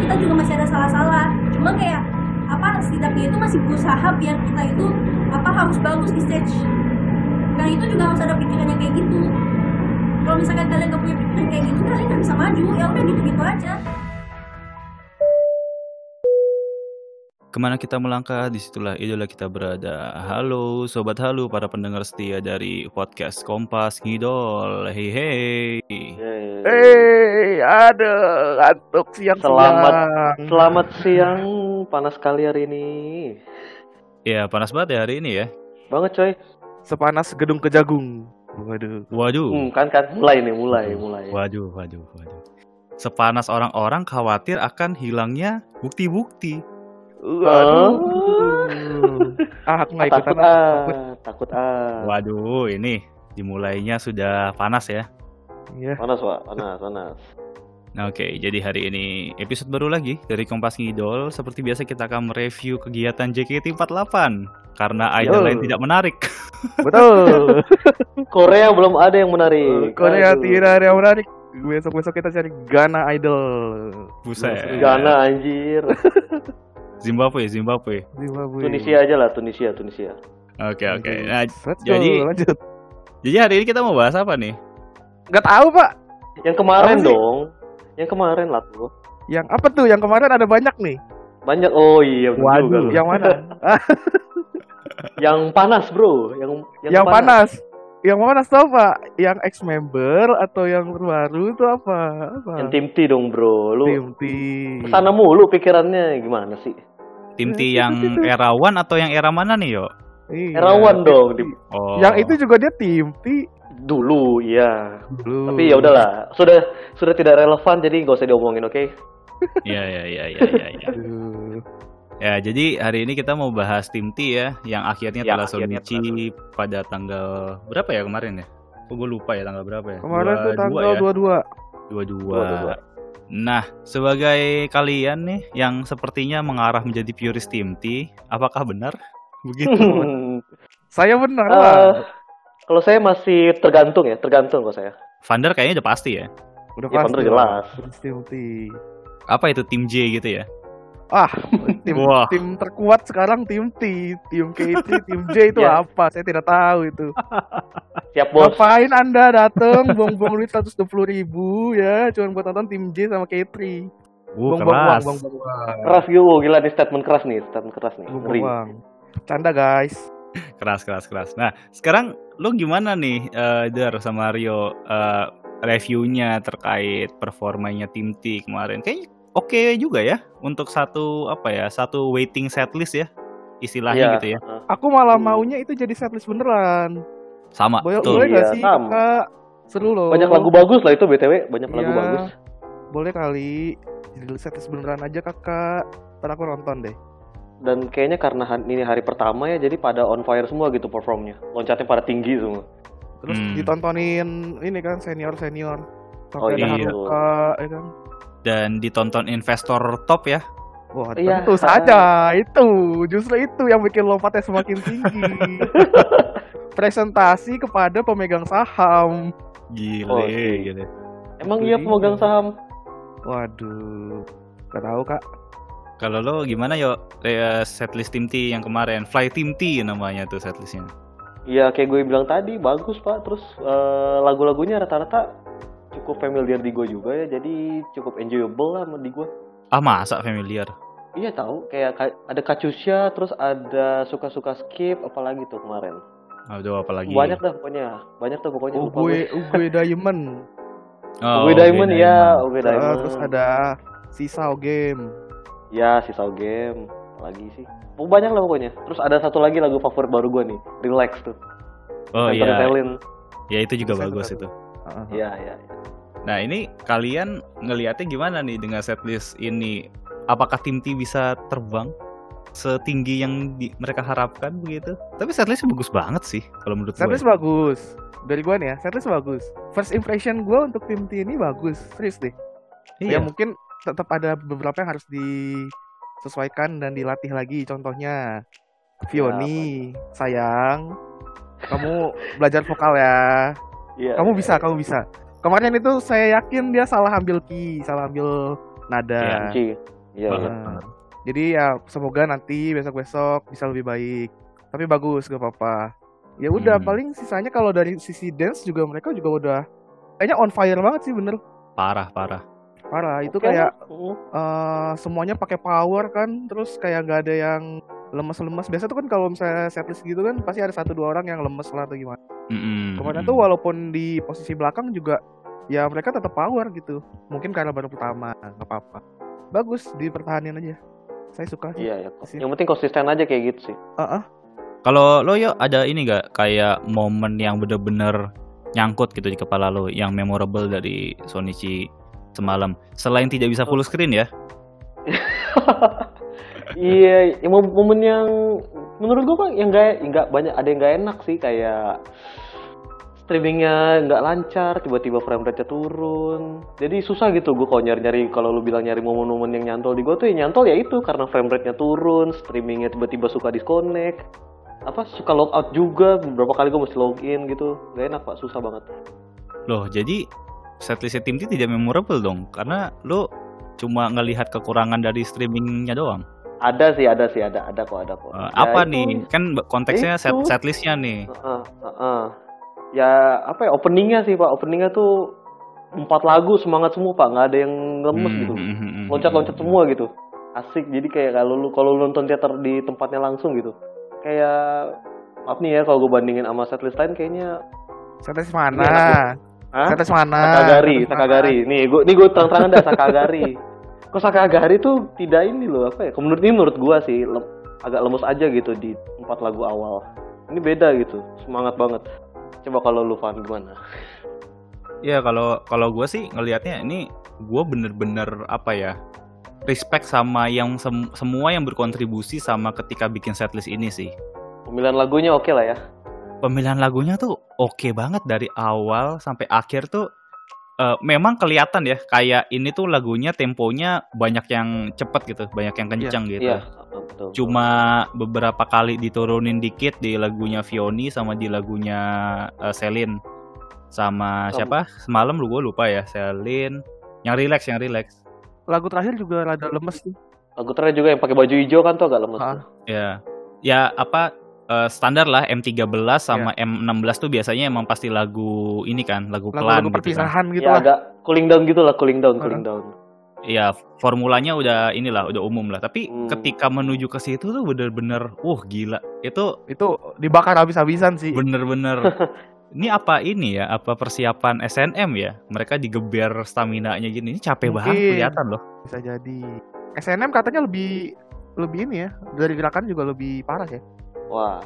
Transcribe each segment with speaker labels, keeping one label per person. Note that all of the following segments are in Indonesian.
Speaker 1: kita juga masih ada salah-salah cuma kayak apa setidaknya itu masih berusaha biar kita itu apa harus bagus di stage nah itu juga harus ada pikirannya kayak gitu kalau misalkan kalian gak punya pikiran kayak gitu kalian nggak bisa maju ya udah gitu-gitu aja
Speaker 2: Kemana kita melangkah, disitulah idola kita berada. Halo Sobat Halu, para pendengar setia dari podcast Kompas Ngidol. Hei hei.
Speaker 3: Eh,
Speaker 4: Eh,
Speaker 3: Hei, ada ngantuk siang
Speaker 4: Selamat selamat siang, panas sekali hari ini.
Speaker 2: Ya panas banget ya hari ini ya.
Speaker 4: Banget coy.
Speaker 3: Sepanas gedung kejagung. Waduh.
Speaker 2: Waduh,
Speaker 4: Hmm, kan kan mulai nih, mulai, mulai.
Speaker 2: waduh, waduh, waduh. Sepanas orang-orang khawatir akan hilangnya bukti-bukti.
Speaker 3: Waduh. Ah, aku
Speaker 4: Ah,
Speaker 3: nggak
Speaker 4: takut
Speaker 3: ikutan.
Speaker 4: ah,
Speaker 3: Takut.
Speaker 4: takut ah.
Speaker 2: Waduh, ini dimulainya sudah panas ya.
Speaker 3: Iya.
Speaker 4: Panas, Pak. Panas, panas.
Speaker 2: Nah, Oke, jadi hari ini episode baru lagi dari Kompas Ngidol. Seperti biasa kita akan mereview kegiatan JKT48 karena idol
Speaker 3: Yo.
Speaker 2: lain tidak menarik.
Speaker 3: Betul.
Speaker 4: Korea belum ada yang menarik.
Speaker 3: Oh, Korea
Speaker 4: Aduh.
Speaker 3: tidak ada yang menarik. Besok-besok kita cari Ghana Idol.
Speaker 2: Buset.
Speaker 4: Ghana anjir.
Speaker 2: Zimbabwe, Zimbabwe.
Speaker 3: Zimbabwe.
Speaker 4: Tunisia aja lah, Tunisia, Tunisia.
Speaker 2: Oke, oke.
Speaker 3: Aduh.
Speaker 2: Nah,
Speaker 3: Betul,
Speaker 2: jadi-
Speaker 3: lanjut.
Speaker 2: jadi hari ini kita mau bahas apa nih?
Speaker 3: Gak tahu pak.
Speaker 4: Yang kemarin
Speaker 3: Apa sih?
Speaker 4: dong. Yang kemarin lah tuh.
Speaker 3: Yang apa tuh? Yang kemarin ada banyak nih.
Speaker 4: Banyak oh iya bener juga lu.
Speaker 3: Yang mana? Ah,
Speaker 4: Yang panas, Bro. Yang
Speaker 3: yang, panas. Yang panas tuh apa? Yang ex member atau yang baru tuh apa? Apa?
Speaker 4: Yang tim T dong, Bro. Lu
Speaker 3: Tim T.
Speaker 4: kesana mulu pikirannya gimana sih?
Speaker 2: Tim T yang erawan atau yang era mana nih, yo?
Speaker 3: Iya.
Speaker 4: Erawan dong di
Speaker 2: Oh.
Speaker 3: Yang itu juga dia tim T.
Speaker 4: dulu iya
Speaker 3: Dulu.
Speaker 4: tapi ya udahlah sudah sudah tidak relevan jadi nggak usah diomongin oke
Speaker 2: Iya, iya, iya, iya, iya. Ya.
Speaker 3: Aduh.
Speaker 2: Ya, jadi hari ini kita mau bahas tim T ya, yang akhirnya
Speaker 4: Ya,
Speaker 2: telah
Speaker 4: akhirnya
Speaker 2: solusi pada tanggal berapa ya kemarin ya? Kok gue lupa ya tanggal berapa ya?
Speaker 3: Kemarin tuh
Speaker 2: 22
Speaker 3: tanggal
Speaker 2: ya? 22.
Speaker 3: 22.
Speaker 2: Nah, sebagai kalian nih yang sepertinya mengarah menjadi purist tim T, apakah benar? Begitu.
Speaker 3: Saya benar lah.
Speaker 4: Eh, kalau saya masih tergantung ya tergantung kalau saya
Speaker 2: Vander kayaknya udah pasti ya.
Speaker 3: Udah
Speaker 4: ya, bener
Speaker 3: lah.
Speaker 4: jelas.
Speaker 3: Terus tim T.
Speaker 2: Apa itu tim J gitu ya?
Speaker 3: Ah, tim
Speaker 2: Wah.
Speaker 3: tim terkuat sekarang tim T, tim KT, tim J itu
Speaker 4: Ya.
Speaker 3: apa? Saya tidak tahu itu.
Speaker 4: siap bos
Speaker 3: Ngapain Anda datang buang-buang duit 120 ribu ya, cuman buat nonton tim J sama K3.
Speaker 2: Uh,
Speaker 3: uang,
Speaker 2: keras.
Speaker 3: buang-buang uang.
Speaker 4: keras gitu Wah, gila nih statement keras nih statement keras nih
Speaker 3: Buang-buang
Speaker 4: ngeri Iya.
Speaker 3: uang. Canda guys.
Speaker 2: Keras, keras, keras. Nah, sekarang lu gimana nih, eh, Dar sama Rio eh, reviewnya terkait performanya tim T kemarin? Kayaknya oke juga ya untuk satu apa ya, satu waiting setlist ya istilahnya
Speaker 4: Iya,
Speaker 2: gitu ya.
Speaker 4: eh,
Speaker 3: Aku malah
Speaker 4: Hmm.
Speaker 3: maunya itu jadi setlist beneran.
Speaker 2: Sama.
Speaker 3: Boleh,
Speaker 2: betul.
Speaker 3: boleh gak
Speaker 4: Iya,
Speaker 3: sih,
Speaker 4: sama.
Speaker 3: Kak? Seru loh.
Speaker 4: Eh, banyak lagu bagus lah itu btw banyak lagu
Speaker 3: Iya.
Speaker 4: bagus
Speaker 3: Boleh kali. Jadi setlist beneran aja, Kakak. Ntar aku nonton deh.
Speaker 4: dan kayaknya karena han- ini hari pertama ya jadi pada on fire semua gitu performnya loncatnya pada tinggi semua
Speaker 3: Terus
Speaker 2: Hmm.
Speaker 3: ditontonin ini kan senior-senior.
Speaker 4: Oh,
Speaker 3: Sampai ada
Speaker 2: iya.
Speaker 3: Haruka, ya kan.
Speaker 2: Dan ditonton investor top ya.
Speaker 3: Wah,
Speaker 4: Iya.
Speaker 3: tentu saja itu. Justru itu yang bikin lompatnya semakin tinggi. Presentasi kepada pemegang saham.
Speaker 2: Gile, gitu.
Speaker 4: Oh, sih.
Speaker 2: gile.
Speaker 4: emang
Speaker 3: Itu
Speaker 4: iya
Speaker 3: dia.
Speaker 4: pemegang saham
Speaker 3: Waduh. Gak tahu, Kak.
Speaker 2: Kalau lo gimana yo eh, setlist tim T yang kemarin Fly Tim T namanya tuh setlistnya.
Speaker 4: Ya kayak gue bilang tadi bagus pak. Terus eh, lagu-lagunya rata-rata cukup familiar di gue juga ya. Jadi cukup enjoyable lah sama di gue.
Speaker 2: Ah masa familiar.
Speaker 4: Iya tahu kayak ka- ada Kacusha, terus ada suka-suka skip, apalagi tuh kemarin.
Speaker 2: Aduh apalagi.
Speaker 4: Banyak dah pokoknya, banyak tuh pokoknya. lupa
Speaker 3: Ugue, Ugue Diamond.
Speaker 2: Oh,
Speaker 4: Uwe Diamond
Speaker 2: Uwe
Speaker 4: ya,
Speaker 2: Diamond.
Speaker 4: Uwe
Speaker 3: Ah,
Speaker 4: Diamond.
Speaker 3: terus ada Sisao Game.
Speaker 4: Ya si Sao Game, apalagi sih. Oh, banyak lah pokoknya. Terus ada satu lagi lagu favorit baru gue nih, Relax tuh.
Speaker 2: Oh
Speaker 4: Anthony
Speaker 2: iya.
Speaker 4: Talin.
Speaker 2: Ya itu juga
Speaker 3: Saya
Speaker 2: bagus
Speaker 3: suka
Speaker 2: itu.
Speaker 3: Ah, ah.
Speaker 4: Iya iya.
Speaker 2: Nah ini kalian ngelihatnya gimana nih dengan setlist ini? Apakah tim T bisa terbang setinggi yang di- mereka harapkan begitu? Tapi setlistnya bagus banget sih kalau menurut gue.
Speaker 3: Setlist bagus. Dari gue nih ya, setlist bagus. First impression gue untuk tim T ini bagus. Serius deh.
Speaker 2: Iya.
Speaker 3: Ya mungkin tetap ada beberapa yang harus disesuaikan dan dilatih lagi. Contohnya, Vioni, sayang. Kamu belajar vokal ya.
Speaker 4: Iya.
Speaker 3: Kamu bisa, kamu bisa. Kemarin itu saya yakin dia salah ambil key, salah ambil nada.
Speaker 2: Iya.
Speaker 4: Kunci. Iya.
Speaker 2: Banget.
Speaker 4: iya.
Speaker 3: Nah, jadi ya semoga nanti besok-besok bisa lebih baik. Tapi bagus gak apa-apa. Ya udah
Speaker 2: Hmm.
Speaker 3: paling sisanya kalau dari sisi dance juga mereka juga udah kayaknya on fire banget sih bener
Speaker 2: Parah parah.
Speaker 3: parah itu
Speaker 4: Oke
Speaker 3: kayak
Speaker 4: lah. Mm.
Speaker 3: eh, semuanya pakai power kan terus kayak nggak ada yang lemes-lemes biasa tuh kan kalau misalnya setlist gitu kan pasti ada satu dua orang yang lemes lah atau gimana
Speaker 2: Mm-mm,
Speaker 3: kemarin
Speaker 2: mm-mm.
Speaker 3: tuh walaupun di posisi belakang juga ya mereka tetap power gitu mungkin karena baru pertama nggak apa-apa bagus dipertahanin aja saya suka sih.
Speaker 4: Iya ya.
Speaker 3: Sih.
Speaker 4: Yang penting konsisten aja kayak gitu sih.
Speaker 3: Ah, ah.
Speaker 2: Kalau lo yo ada ini gak kayak momen yang bener-bener nyangkut gitu di kepala lo yang memorable dari Sonichi semalam selain tidak bisa full screen ya
Speaker 4: Iya, ya, mom- momen yang menurut gua Bang, yang nggak nggak banyak ada yang nggak enak sih kayak streamingnya nggak lancar, tiba-tiba frame rate-nya turun. Jadi susah gitu gua kalau nyari-nyari kalau lu bilang nyari momen-momen yang nyantol di gua tuh ya nyantol ya itu karena frame rate-nya turun, streamingnya tiba-tiba suka disconnect apa suka logout juga beberapa kali gua mesti login gitu nggak enak pak susah banget
Speaker 2: loh jadi setlistnya tim T tidak memorable dong karena lo cuma ngelihat kekurangan dari streamingnya doang
Speaker 4: ada sih ada sih ada ada kok ada kok
Speaker 2: Eh,
Speaker 4: Ya,
Speaker 2: apa
Speaker 4: itu-
Speaker 2: nih kan konteksnya set
Speaker 4: itu.
Speaker 2: setlistnya nih
Speaker 4: Heeh, heeh. Ya apa ya openingnya sih pak, openingnya tuh empat lagu semangat semua pak, nggak ada yang lemes gitu,
Speaker 2: Hmm, hmm, hmm,
Speaker 4: loncat-loncat
Speaker 2: hmm.
Speaker 4: semua gitu, asik. Jadi kayak kalau lu kalau lu nonton teater di tempatnya langsung gitu, kayak maaf nih ya kalau gue bandingin sama setlist lain kayaknya
Speaker 3: Setlist
Speaker 4: Iya,
Speaker 3: mana?
Speaker 2: Kan
Speaker 4: Hah?
Speaker 3: Setlist mana?
Speaker 4: Sakagari,
Speaker 3: Setlist
Speaker 4: Ah,
Speaker 3: mana?
Speaker 4: Sakagari. Nih, gue nih gue terang-terangan dah Sakagari. Kok Sakagari tuh tidak ini loh apa ya? Menurut ini menurut gua sih lem- agak lemes aja gitu di empat lagu awal. Ini beda gitu, semangat banget. Coba kalau lu fan gimana?
Speaker 2: Ya kalau kalau gue sih ngelihatnya ini gue bener-bener apa ya respect sama yang sem- semua yang berkontribusi sama ketika bikin setlist ini sih.
Speaker 4: Pemilihan lagunya oke lah ya.
Speaker 2: Pemilihan lagunya tuh oke banget dari awal sampai akhir tuh eh, memang kelihatan ya kayak ini tuh lagunya temponya banyak yang cepet gitu, banyak yang kencang gitu.
Speaker 4: Iya, betul.
Speaker 2: Cuma beberapa kali diturunin dikit di lagunya Vioni sama di lagunya eh, Selin sama
Speaker 4: Sama.
Speaker 2: siapa? Semalam lu gue lupa ya, Selin. Yang relax, yang relax.
Speaker 3: Lagu terakhir juga rada lemes tuh.
Speaker 4: Lagu terakhir juga yang pakai baju hijau kan tuh agak lemes.
Speaker 3: Ah.
Speaker 2: Ya, ya apa eh, standar lah M13 sama M16 tuh biasanya emang pasti lagu ini kan, lagu pelan gitu
Speaker 3: Lagu-lagu
Speaker 2: kan.
Speaker 3: perpisahan gitu
Speaker 4: ya
Speaker 3: lah.
Speaker 4: agak cooling down gitu lah, cooling down, cooling down.
Speaker 2: Iya, formulanya udah inilah, udah umum lah. Tapi
Speaker 4: Hmm.
Speaker 2: ketika menuju ke situ tuh bener-bener, wah gila. Itu
Speaker 3: Itu dibakar habis-habisan sih.
Speaker 2: bener-bener. ini apa ini ya? Apa persiapan SNM ya? Mereka digeber stamina-nya gini. Ini capek banget
Speaker 3: Mungkin.
Speaker 2: kelihatan loh.
Speaker 3: Bisa jadi. SNM katanya lebih lebih ini ya dari gerakan juga lebih parah ya.
Speaker 4: Wah,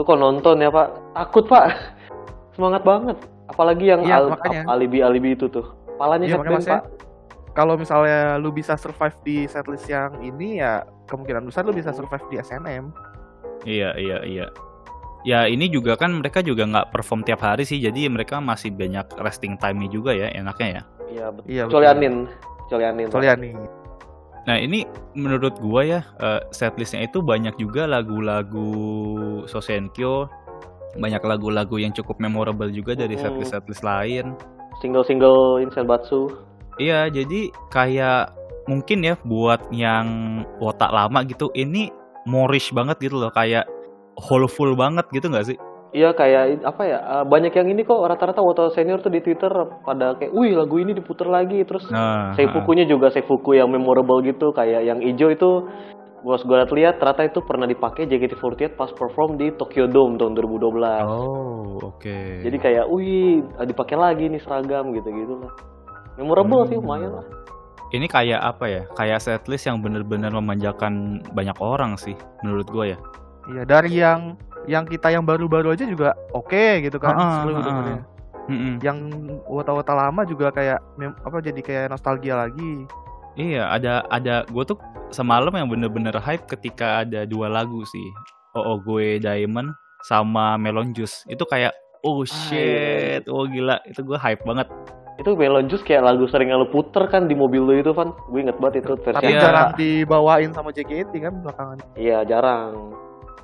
Speaker 4: lu kok nonton ya pak? Takut pak. Semangat banget. Apalagi yang
Speaker 3: Iya,
Speaker 4: al-
Speaker 3: makanya.
Speaker 4: alibi-alibi itu tuh. Palanya
Speaker 3: Iya, makanya
Speaker 4: Setband,
Speaker 3: maksudnya-
Speaker 4: pak.
Speaker 3: Kalau misalnya lu bisa survive di setlist yang ini ya kemungkinan besar lu bisa survive di SNM.
Speaker 2: Iya iya iya. Ya ini juga kan mereka juga nggak perform tiap hari sih, jadi mereka masih banyak resting time-nya juga ya, enaknya ya.
Speaker 4: Iya betul.
Speaker 3: Iya.
Speaker 4: Kecuali Anin. Kecuali Anin.
Speaker 3: Kecuali Anin.
Speaker 2: Nah ini menurut gua ya eh, setlistnya itu banyak juga lagu-lagu Sosenkyo, banyak lagu-lagu yang cukup memorable juga dari
Speaker 4: Mm-mm.
Speaker 2: setlist setlist lain.
Speaker 4: Single-single Insan Batsu.
Speaker 2: Iya jadi kayak mungkin ya buat yang otak lama gitu, ini morish banget gitu loh, kayak hopeful banget gitu nggak sih?
Speaker 4: Iya kayak i- apa ya? uh, banyak yang ini kok rata-rata Woto senior tuh di Twitter pada kayak, "Wih, lagu ini diputer lagi." Terus
Speaker 2: Nah,
Speaker 4: Seifukunya juga Seifuku yang memorable gitu kayak yang ijo itu gua gua lihat ternyata itu pernah dipakai JKT48 pas perform di Tokyo Dome tahun 2012.
Speaker 2: Oh oke.
Speaker 4: Jadi kayak, "Wih, ah, dipakai lagi nih seragam gitu-gitu lah." Memorable sih lumayan lah.
Speaker 2: ini kayak apa ya kayak setlist yang bener-bener memanjakan banyak orang sih menurut gue ya
Speaker 3: Iya dari yang yang kita yang baru-baru aja juga oke gitu kan.
Speaker 2: Ah, ah,
Speaker 3: Seru gitu
Speaker 2: ah,
Speaker 3: kan
Speaker 2: ah.
Speaker 3: ya.
Speaker 2: Mm-mm.
Speaker 3: Yang wota-wota lama juga kayak mem- apa jadi kayak nostalgia lagi.
Speaker 2: iya ada ada gue tuh semalam yang bener-bener hype ketika ada dua lagu sih oh, oh gue diamond sama melon juice itu kayak oh shit oh gila itu gue hype banget
Speaker 4: Itu Melon Juice kayak lagu sering lu puter kan di mobil lu itu, Van. Gue inget banget itu versi
Speaker 3: Tapi
Speaker 2: Iya.
Speaker 4: yang-
Speaker 3: jarang dibawain sama JKT kan belakangan.
Speaker 4: Iya, jarang.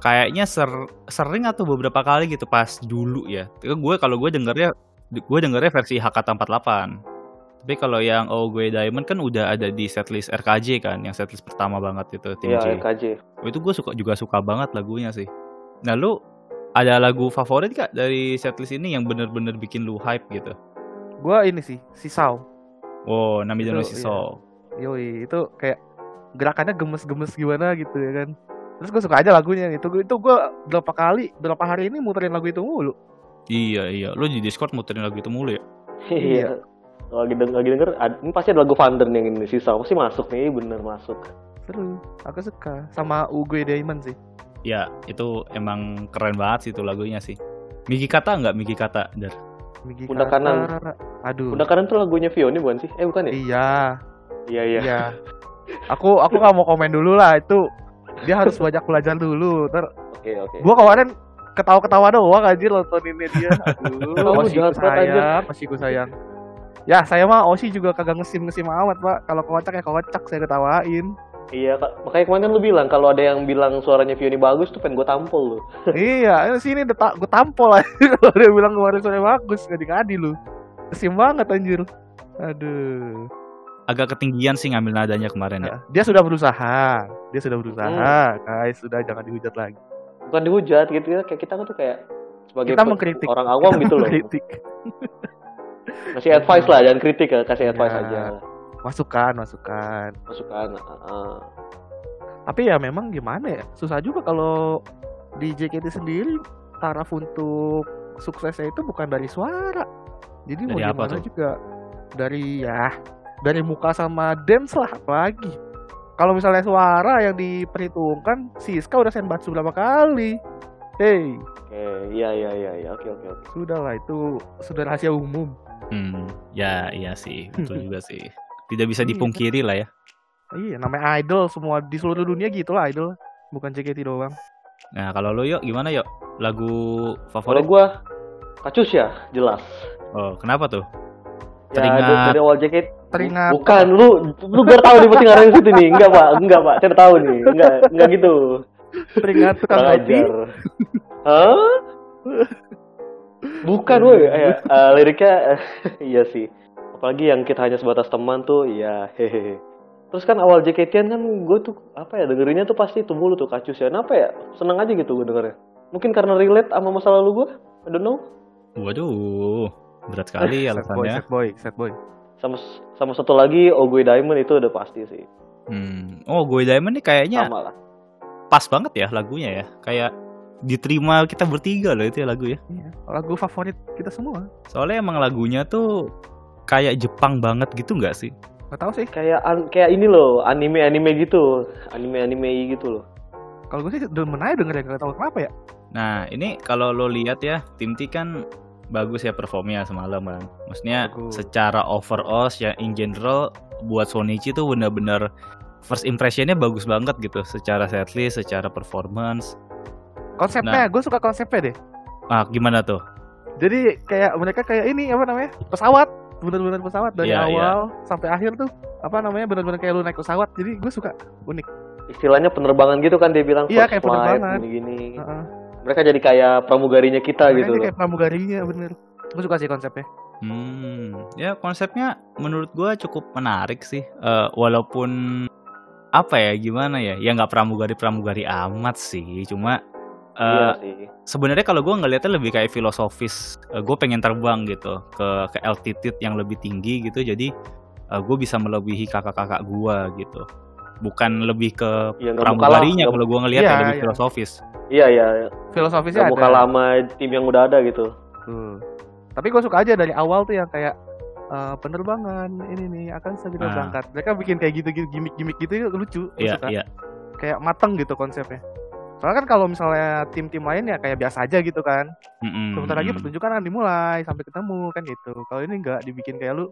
Speaker 2: kayaknya ser- sering atau beberapa kali gitu pas dulu ya Itu gue kalau gue dengernya gue dengernya versi HK48 itu Tapi kalau yang Oh Gue Diamond kan udah ada di setlist RKJ kan, yang setlist pertama banget itu tim
Speaker 4: Iya,
Speaker 2: C.
Speaker 4: RKJ.
Speaker 2: Oh, itu gue suka juga suka banget lagunya sih. Nah lu ada lagu favorit kak dari setlist ini yang bener-bener bikin lu hype gitu?
Speaker 3: Gua ini sih, sisau.
Speaker 2: Wow, Namida no
Speaker 4: iya.
Speaker 3: Itu,
Speaker 2: Shiso.
Speaker 3: Yoi, itu kayak gerakannya gemes-gemes gimana gitu ya kan. Terus gue suka aja lagunya gitu. Itu gue berapa kali, berapa hari ini muterin lagu itu mulu.
Speaker 2: Iya iya, lu di Discord muterin lagu itu mulu ya?
Speaker 3: Iya.
Speaker 4: Iya. Kalau lagi denger, lagi denger, ad- ini pasti ada lagu Van Den yang ini sisa. Pasti masuk nih, bener masuk.
Speaker 3: Seru, aku suka. Sama Ugue Diamond sih.
Speaker 2: Ya itu emang keren banget sih itu lagunya sih. Migi kata nggak Migi kata? Dar.
Speaker 3: Migi
Speaker 4: Pundak
Speaker 3: Kata.
Speaker 4: kanan.
Speaker 3: Aduh.
Speaker 4: Udah keren tuh lagunya Vioni bukan sih? Eh bukan ya?
Speaker 3: Iya,
Speaker 4: Iya iya.
Speaker 3: iya. Aku aku nggak mau komen dulu lah itu. Dia harus banyak belajar dulu. Ter,
Speaker 4: Oke oke.
Speaker 3: gua kemarin ketawa-ketawa doang anjir nontoninnya dia. Aduh,
Speaker 4: Kamu
Speaker 3: Oshi
Speaker 4: jahat
Speaker 3: ku
Speaker 4: banget, anjir.
Speaker 3: sayang, Oshi ku sayang. Ya, saya mah Oshi juga kagak ngesim-ngesim amat, Pak. Kalau kocak ya kocak, saya ketawain.
Speaker 4: Iya Kak. makanya kemarin kan lu bilang kalau ada yang bilang suaranya Vioni bagus tuh pengen gue tampol lu.
Speaker 3: iya, ini sini detak gue tampol anjir. Kalau dia bilang kemarin sore bagus, gak ngadi lu. Kesim banget anjir. Aduh.
Speaker 2: Agak ketinggian sih ngambil nadanya kemarin
Speaker 4: Iya.
Speaker 2: ya.
Speaker 3: Nah, dia sudah berusaha. Dia sudah berusaha, guys. Sudah jangan dihujat lagi.
Speaker 4: Bukan dihujat gitu ya. Kayak kita tuh kayak sebagai
Speaker 3: Kita
Speaker 4: pe-
Speaker 3: mengkritik.
Speaker 4: orang awam gitu loh.
Speaker 3: Kritik.
Speaker 4: Kasih advice lah, jangan kritik ya, kasih advice
Speaker 3: Iya.
Speaker 4: aja.
Speaker 3: Masukan, masukan.
Speaker 4: Masukan. ah, heeh.
Speaker 3: Tapi ya memang gimana ya? Susah juga kalau di JKT sendiri taraf untuk suksesnya itu bukan dari suara. Jadi mau
Speaker 2: Dari apa
Speaker 3: gimana
Speaker 2: tuh?
Speaker 3: juga dari ya dari muka sama dance lah apalagi. Kalau misalnya suara yang diperhitungkan, Siska udah senbatsu berapa kali? Hey,
Speaker 4: Oke, iya iya iya iya. Oke oke oke.
Speaker 3: sudahlah itu sudah rahasia umum.
Speaker 2: Hmm, ya iya sih, betul juga sih. Tidak bisa
Speaker 4: Hmm,
Speaker 3: Iya.
Speaker 2: dipungkiri lah ya.
Speaker 3: Iya, namanya idol semua di seluruh dunia gitu lah idol. Bukan JKT doang.
Speaker 2: Nah kalau lu yuk gimana yuk? Lagu
Speaker 4: Kalau
Speaker 2: favorit?
Speaker 4: gua kacus ya, jelas.
Speaker 2: Oh kenapa tuh?
Speaker 4: Ya,
Speaker 2: Teringat.
Speaker 4: dari, dari awal jaket
Speaker 3: Teringat.
Speaker 4: Bukan, lu lu gue tahu nih pasti ngarang situ nih. Enggak, Pak. Enggak, Pak. Saya udah tahu nih. Enggak, enggak gitu.
Speaker 3: Teringat tukang
Speaker 4: Kurang
Speaker 3: kopi.
Speaker 4: ajar. Hah? Bukan, woi. Eh, eh, liriknya eh, iya sih. Apalagi yang kita hanya sebatas teman tuh, iya hehehe. Terus kan awal JKT-an kan gue tuh apa ya dengerinnya tuh pasti tuh mulu tuh kacus ya. Kenapa ya? Seneng aja gitu gue dengernya. Mungkin karena relate sama masa lalu gue. I don't know.
Speaker 2: Waduh, berat sekali
Speaker 3: Sad boy,
Speaker 2: Iya, alasannya.
Speaker 3: sad boy, sad boy.
Speaker 4: Sama sama satu lagi Ogoy Diamond itu udah pasti sih.
Speaker 2: Hmm. Oh, Gue Diamond nih kayaknya
Speaker 4: Sama lah.
Speaker 2: pas banget ya lagunya ya. Kayak diterima kita bertiga loh itu ya lagu ya.
Speaker 3: Iya, lagu favorit kita semua.
Speaker 2: Soalnya emang lagunya tuh kayak Jepang banget gitu nggak sih?
Speaker 3: Gak tau sih,
Speaker 4: kayak an- kayak ini loh anime anime gitu anime anime gitu loh
Speaker 3: kalau gue sih demen aja dengerin, gak tau kenapa ya.
Speaker 2: Nah, ini kalau lo lihat ya, Tim T kan bagus ya performnya semalam kan. Maksudnya
Speaker 3: Bagus.
Speaker 2: secara overall ya in general buat Sonichi tuh bener-bener first impressionnya bagus banget gitu secara setlist, secara performance. Nah.
Speaker 3: Konsepnya, gue suka konsepnya deh.
Speaker 2: Ah, gimana tuh?
Speaker 3: Jadi kayak mereka kayak ini, apa namanya, pesawat. Bener-bener pesawat dari
Speaker 2: Iya, iya.
Speaker 3: awal sampai akhir tuh. Apa namanya, bener-bener kayak lu naik pesawat. Jadi gue suka, unik.
Speaker 4: istilahnya penerbangan gitu kan dia bilang
Speaker 3: Iya,
Speaker 4: first
Speaker 3: kayak
Speaker 4: flight,
Speaker 3: penerbangan.
Speaker 4: gini-gini.
Speaker 2: Iya,
Speaker 3: Heeh.
Speaker 2: gitu
Speaker 4: mereka jadi kayak pramugarinya kita
Speaker 3: Makanya
Speaker 4: gitu
Speaker 3: dia
Speaker 4: loh
Speaker 3: kayak pramugarinya, bener. Gue suka sih konsepnya.
Speaker 2: Hmm, ya konsepnya menurut gua cukup menarik sih. Eh, walaupun apa ya gimana ya, ya nggak pramugari pramugari amat sih. Cuma
Speaker 4: iya
Speaker 2: eh
Speaker 4: sih
Speaker 2: sebenarnya kalau gua ngelihatnya lebih kayak filosofis. Eh, gua pengen terbang gitu ke ke altitude yang lebih tinggi gitu. Jadi eh, gua bisa melebihi kakak-kakak gua gitu. Bukan lebih ke
Speaker 4: iya nggak mau kalah
Speaker 2: pramugarinya
Speaker 4: nggak-
Speaker 2: kalau gua ngelihat
Speaker 3: Iya,
Speaker 2: ya lebih
Speaker 3: iya.
Speaker 2: filosofis.
Speaker 4: iya iya
Speaker 3: Filosofisnya
Speaker 4: nggak mau
Speaker 3: ada.
Speaker 4: kalah sama tim yang udah ada gitu
Speaker 3: Tuh. Tapi gue suka aja dari awal tuh yang kayak eh, penerbangan ini nih akan segera
Speaker 2: Ah.
Speaker 3: berangkat. Mereka bikin kayak gitu-gitu gimmick-gimmick gitu lucu. Gua
Speaker 2: Iya,
Speaker 3: suka.
Speaker 2: iya.
Speaker 3: kayak mateng gitu konsepnya. Soalnya kan kalau misalnya tim-tim lain ya kayak biasa aja gitu kan.
Speaker 2: Mm-mm,
Speaker 3: Sebentar
Speaker 4: Hmm.
Speaker 3: lagi
Speaker 2: mm-mm.
Speaker 3: pertunjukan akan dimulai sampai ketemu kan gitu. Kalau ini enggak dibikin kayak lu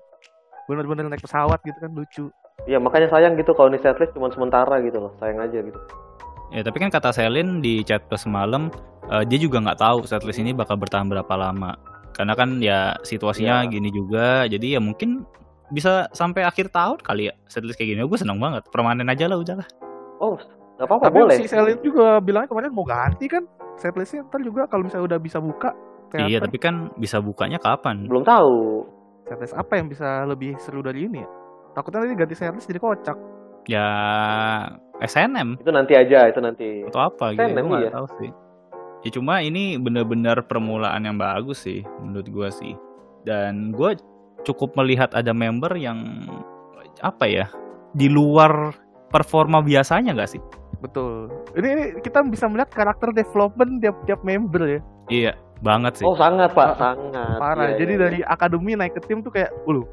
Speaker 3: bener-bener naik pesawat gitu kan lucu.
Speaker 4: iya makanya sayang gitu kalau di setlist cuma sementara gitu loh sayang aja gitu
Speaker 2: Ya tapi kan kata Selin di chat plus semalam eh, dia juga nggak tahu setlist ini bakal bertahan berapa lama. Karena kan ya situasinya
Speaker 4: Iya.
Speaker 2: gini juga, jadi ya mungkin bisa sampai akhir tahun kali ya setlist kayak gini. Gue seneng banget, permanen aja lah udahlah.
Speaker 4: oh nggak apa-apa
Speaker 3: Tapi
Speaker 4: boleh
Speaker 3: si Selin juga bilangnya kemarin mau ganti kan setlistnya ntar juga kalau misalnya udah bisa buka
Speaker 2: Iya
Speaker 3: teater.
Speaker 2: tapi kan bisa bukanya kapan?
Speaker 4: belum tahu
Speaker 3: Serdes apa yang bisa lebih seru dari ini ya? Takutnya nanti ganti Serdes jadi kocak.
Speaker 2: Ya SNM
Speaker 4: Itu nanti aja, itu nanti.
Speaker 2: atau apa gitu.
Speaker 4: SNM,
Speaker 2: Gue nggak
Speaker 4: iya.
Speaker 2: tahu sih. Ya cuma ini benar-benar permulaan yang bagus sih menurut gua sih. Dan gua cukup melihat ada member yang apa ya di luar performa biasanya nggak sih?
Speaker 3: Betul. Ini, ini kita bisa melihat karakter development tiap-tiap member ya.
Speaker 2: Iya banget sih.
Speaker 4: Oh, sangat, Pak,
Speaker 3: Ah,
Speaker 4: sangat.
Speaker 3: Parah.
Speaker 4: Iya,
Speaker 3: jadi
Speaker 4: iya,
Speaker 3: dari akademi naik ke tim tuh kayak, "Ulu,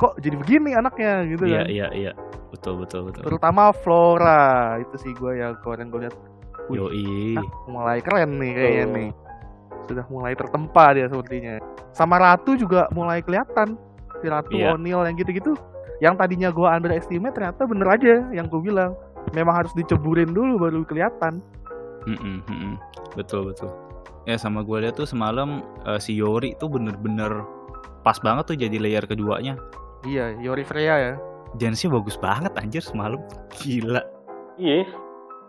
Speaker 3: kok jadi begini anaknya?" gitu
Speaker 2: iya
Speaker 3: kan.
Speaker 2: iya iya betul betul betul.
Speaker 3: Terutama Flora itu sih gue yang kemarin gue lihat Wih.
Speaker 2: Yoi.
Speaker 3: "Ah, mulai keren nih kayaknya
Speaker 4: Betul.
Speaker 3: nih. Sudah mulai tertempa dia sepertinya. Sama Ratu juga mulai kelihatan. Si Ratu
Speaker 2: Iya.
Speaker 3: O'Neal yang gitu-gitu. Yang tadinya gue underestimate ternyata bener aja yang gue bilang. Memang harus diceburin dulu baru kelihatan.
Speaker 2: Mm-mm, mm-mm. Betul betul. Ya sama gue lihat tuh semalam eh, si Yori tuh bener-bener pas banget tuh jadi layer keduanya.
Speaker 3: Iya, Yori Freya ya.
Speaker 2: Dance-nya bagus banget anjir semalam. Gila.
Speaker 4: Iya.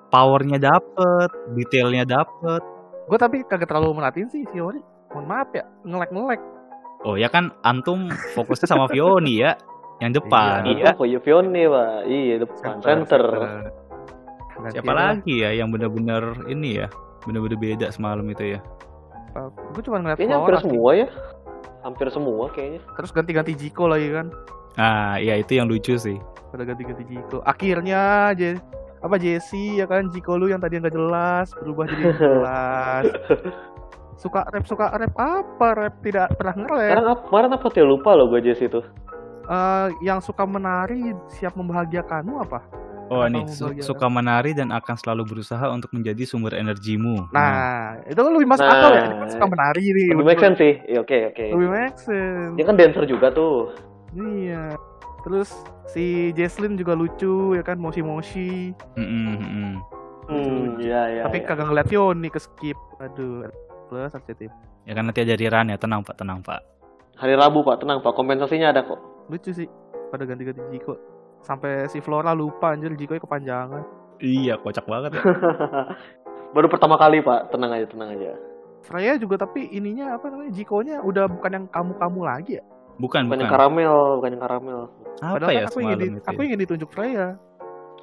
Speaker 2: Powernya dapet, detailnya dapet.
Speaker 3: Gue tapi kagak terlalu merhatiin sih si Yori. Mohon maaf ya, ngelek-ngelek.
Speaker 2: Oh ya kan antum fokusnya sama Vioni ya, yang depan.
Speaker 3: Iya.
Speaker 4: Iya, Koyo Fione, Pak. Iya, depan center.
Speaker 3: Ganti
Speaker 2: Siapa
Speaker 3: aja lah.
Speaker 2: lagi ya yang bener-bener ini ya, bener-bener beda semalam itu ya.
Speaker 3: Gue cuma ngeliat
Speaker 4: Kayaknya hampir
Speaker 3: Flora sih.
Speaker 4: semua ya. Hampir semua kayaknya.
Speaker 3: Terus ganti-ganti Jiko lagi kan.
Speaker 2: Ah, ya itu yang lucu sih.
Speaker 3: Pada ganti-ganti Jiko. Akhirnya aja apa Jesse ya kan Jiko lu yang tadi nggak jelas berubah jadi jelas. suka rap suka rap apa rap tidak pernah ngerap.
Speaker 4: Sekarang apa? Kemarin apa tuh? Ya, Lupa loh gue Jess itu.
Speaker 3: Eh, yang suka menari siap membahagiakanmu apa?
Speaker 4: Hmm.
Speaker 2: Oh
Speaker 3: Apa
Speaker 2: nih,
Speaker 3: mau
Speaker 2: su-
Speaker 3: belajar?
Speaker 2: suka menari dan akan selalu berusaha untuk menjadi sumber energimu.
Speaker 3: Nah, itu kan lebih masuk
Speaker 4: Nah.
Speaker 3: akal ya. Ini kan suka menari nih.
Speaker 4: Lebih
Speaker 3: betul.
Speaker 4: make sense sih. Iya, oke, oke.
Speaker 3: Lebih make sense.
Speaker 4: Dia kan dancer juga tuh.
Speaker 3: Iya. Terus si Jesslyn juga lucu ya kan moshi-moshi.
Speaker 2: Hmm, mm, mm, mm.
Speaker 4: Hmm, iya, iya.
Speaker 3: Tapi
Speaker 4: iya.
Speaker 3: kagak ngeliat Yoni ke skip. Aduh, plus sensitif.
Speaker 2: Ya kan nanti ada Riran ya, tenang Pak, tenang Pak.
Speaker 4: Hari Rabu, Pak. Tenang, Pak. Kompensasinya ada kok.
Speaker 3: Lucu sih pada ganti-ganti Jiko. Sampai si Flora lupa anjir Jiko kepanjangan.
Speaker 2: Iya, kocak banget ya.
Speaker 4: Baru pertama kali, Pak. Tenang aja, tenang aja.
Speaker 3: Freya juga tapi ininya apa namanya Jikonya udah bukan yang kamu-kamu lagi ya.
Speaker 2: Bukan,
Speaker 4: Bukan
Speaker 2: bukan.
Speaker 4: yang karamel, bukan yang karamel.
Speaker 2: Apa
Speaker 3: Padahal
Speaker 2: ya
Speaker 3: kan aku ingin
Speaker 2: semalam
Speaker 3: di-
Speaker 2: itu?
Speaker 3: aku
Speaker 2: ya?
Speaker 3: ingin ditunjuk Freya.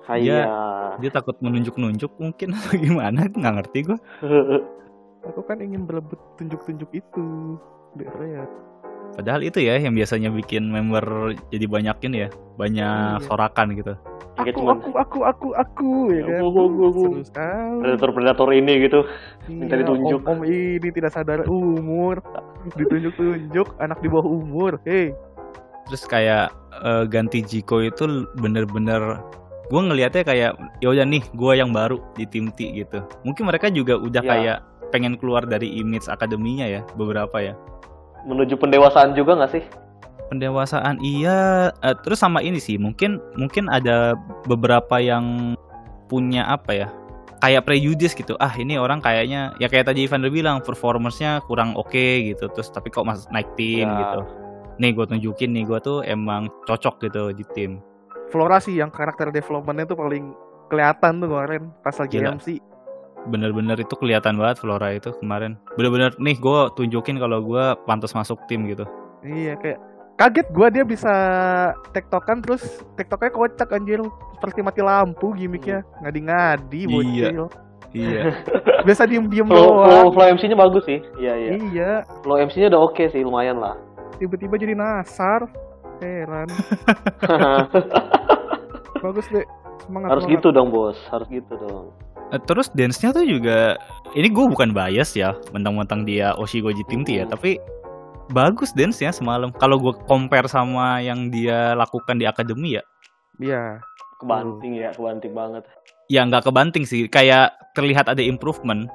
Speaker 4: Iya.
Speaker 2: Dia takut menunjuk-nunjuk mungkin atau gimana, nggak ngerti gue.
Speaker 3: Aku kan ingin berebut tunjuk-tunjuk itu. Dari Freya.
Speaker 2: Padahal itu ya yang biasanya bikin member jadi banyakin ya, banyak
Speaker 3: Iya.
Speaker 2: sorakan gitu.
Speaker 3: Aku
Speaker 4: Engagement.
Speaker 3: aku aku aku aku ya kan.
Speaker 4: Iya, Aku, aku, aku.
Speaker 3: Seru sekali.
Speaker 4: Predator-predator ini gitu. Minta
Speaker 3: Iya,
Speaker 4: ditunjuk.
Speaker 3: Om, om ini tidak sadar umur, ditunjuk-tunjuk anak di bawah umur. Hei,
Speaker 2: Terus kayak eh, ganti Jiko itu l- bener-bener gue ngelihatnya kayak ya udah nih gue yang baru di tim T gitu. Mungkin mereka juga udah
Speaker 4: Iya.
Speaker 2: kayak pengen keluar dari image akademinya ya beberapa ya.
Speaker 4: Menuju pendewasaan juga nggak sih?
Speaker 3: Iya,
Speaker 2: pendewasaan iya Eh, terus sama ini sih mungkin mungkin ada beberapa yang punya apa ya kayak prejudis gitu ah ini orang kayaknya ya kayak tadi Evander bilang performersnya kurang oke gitu terus tapi kok mas naik tim
Speaker 4: Ya.
Speaker 2: gitu nih gue tunjukin nih gue tuh emang cocok gitu di tim
Speaker 3: Flora sih yang karakter developmentnya tuh paling kelihatan tuh kemarin pas lagi
Speaker 4: Iya.
Speaker 2: Gila.
Speaker 3: MC.
Speaker 2: bener-bener itu kelihatan banget Flora itu kemarin bener-bener nih gue tunjukin kalau gue pantas masuk tim gitu
Speaker 3: Iya kayak kaget gua dia bisa tektokan terus tektoknya kocak anjir seperti mati lampu gimmicknya
Speaker 4: Hmm.
Speaker 3: ngadi-ngadi
Speaker 2: Iya.
Speaker 3: bocil
Speaker 2: iya
Speaker 3: biasa diem-diem
Speaker 4: Flow, flow,
Speaker 3: doang
Speaker 4: flow MC-nya bagus sih. Iya, iya.
Speaker 3: iya
Speaker 4: Flow MC-nya udah oke sih, lumayan lah.
Speaker 3: tiba-tiba jadi nasar heran bagus deh semangat
Speaker 4: Harus
Speaker 3: semangat.
Speaker 4: gitu dong, Bos. Harus gitu dong.
Speaker 2: Eh, terus dance-nya tuh juga ini gue bukan bias ya mentang-mentang dia Oshigoji Tim T ya
Speaker 4: Mhm.
Speaker 2: tapi bagus dance-nya semalam kalau gue compare sama yang dia lakukan di akademi ya
Speaker 3: iya Hmm.
Speaker 4: Kebanting ya, kebanting banget.
Speaker 2: ya nggak kebanting sih kayak terlihat ada improvement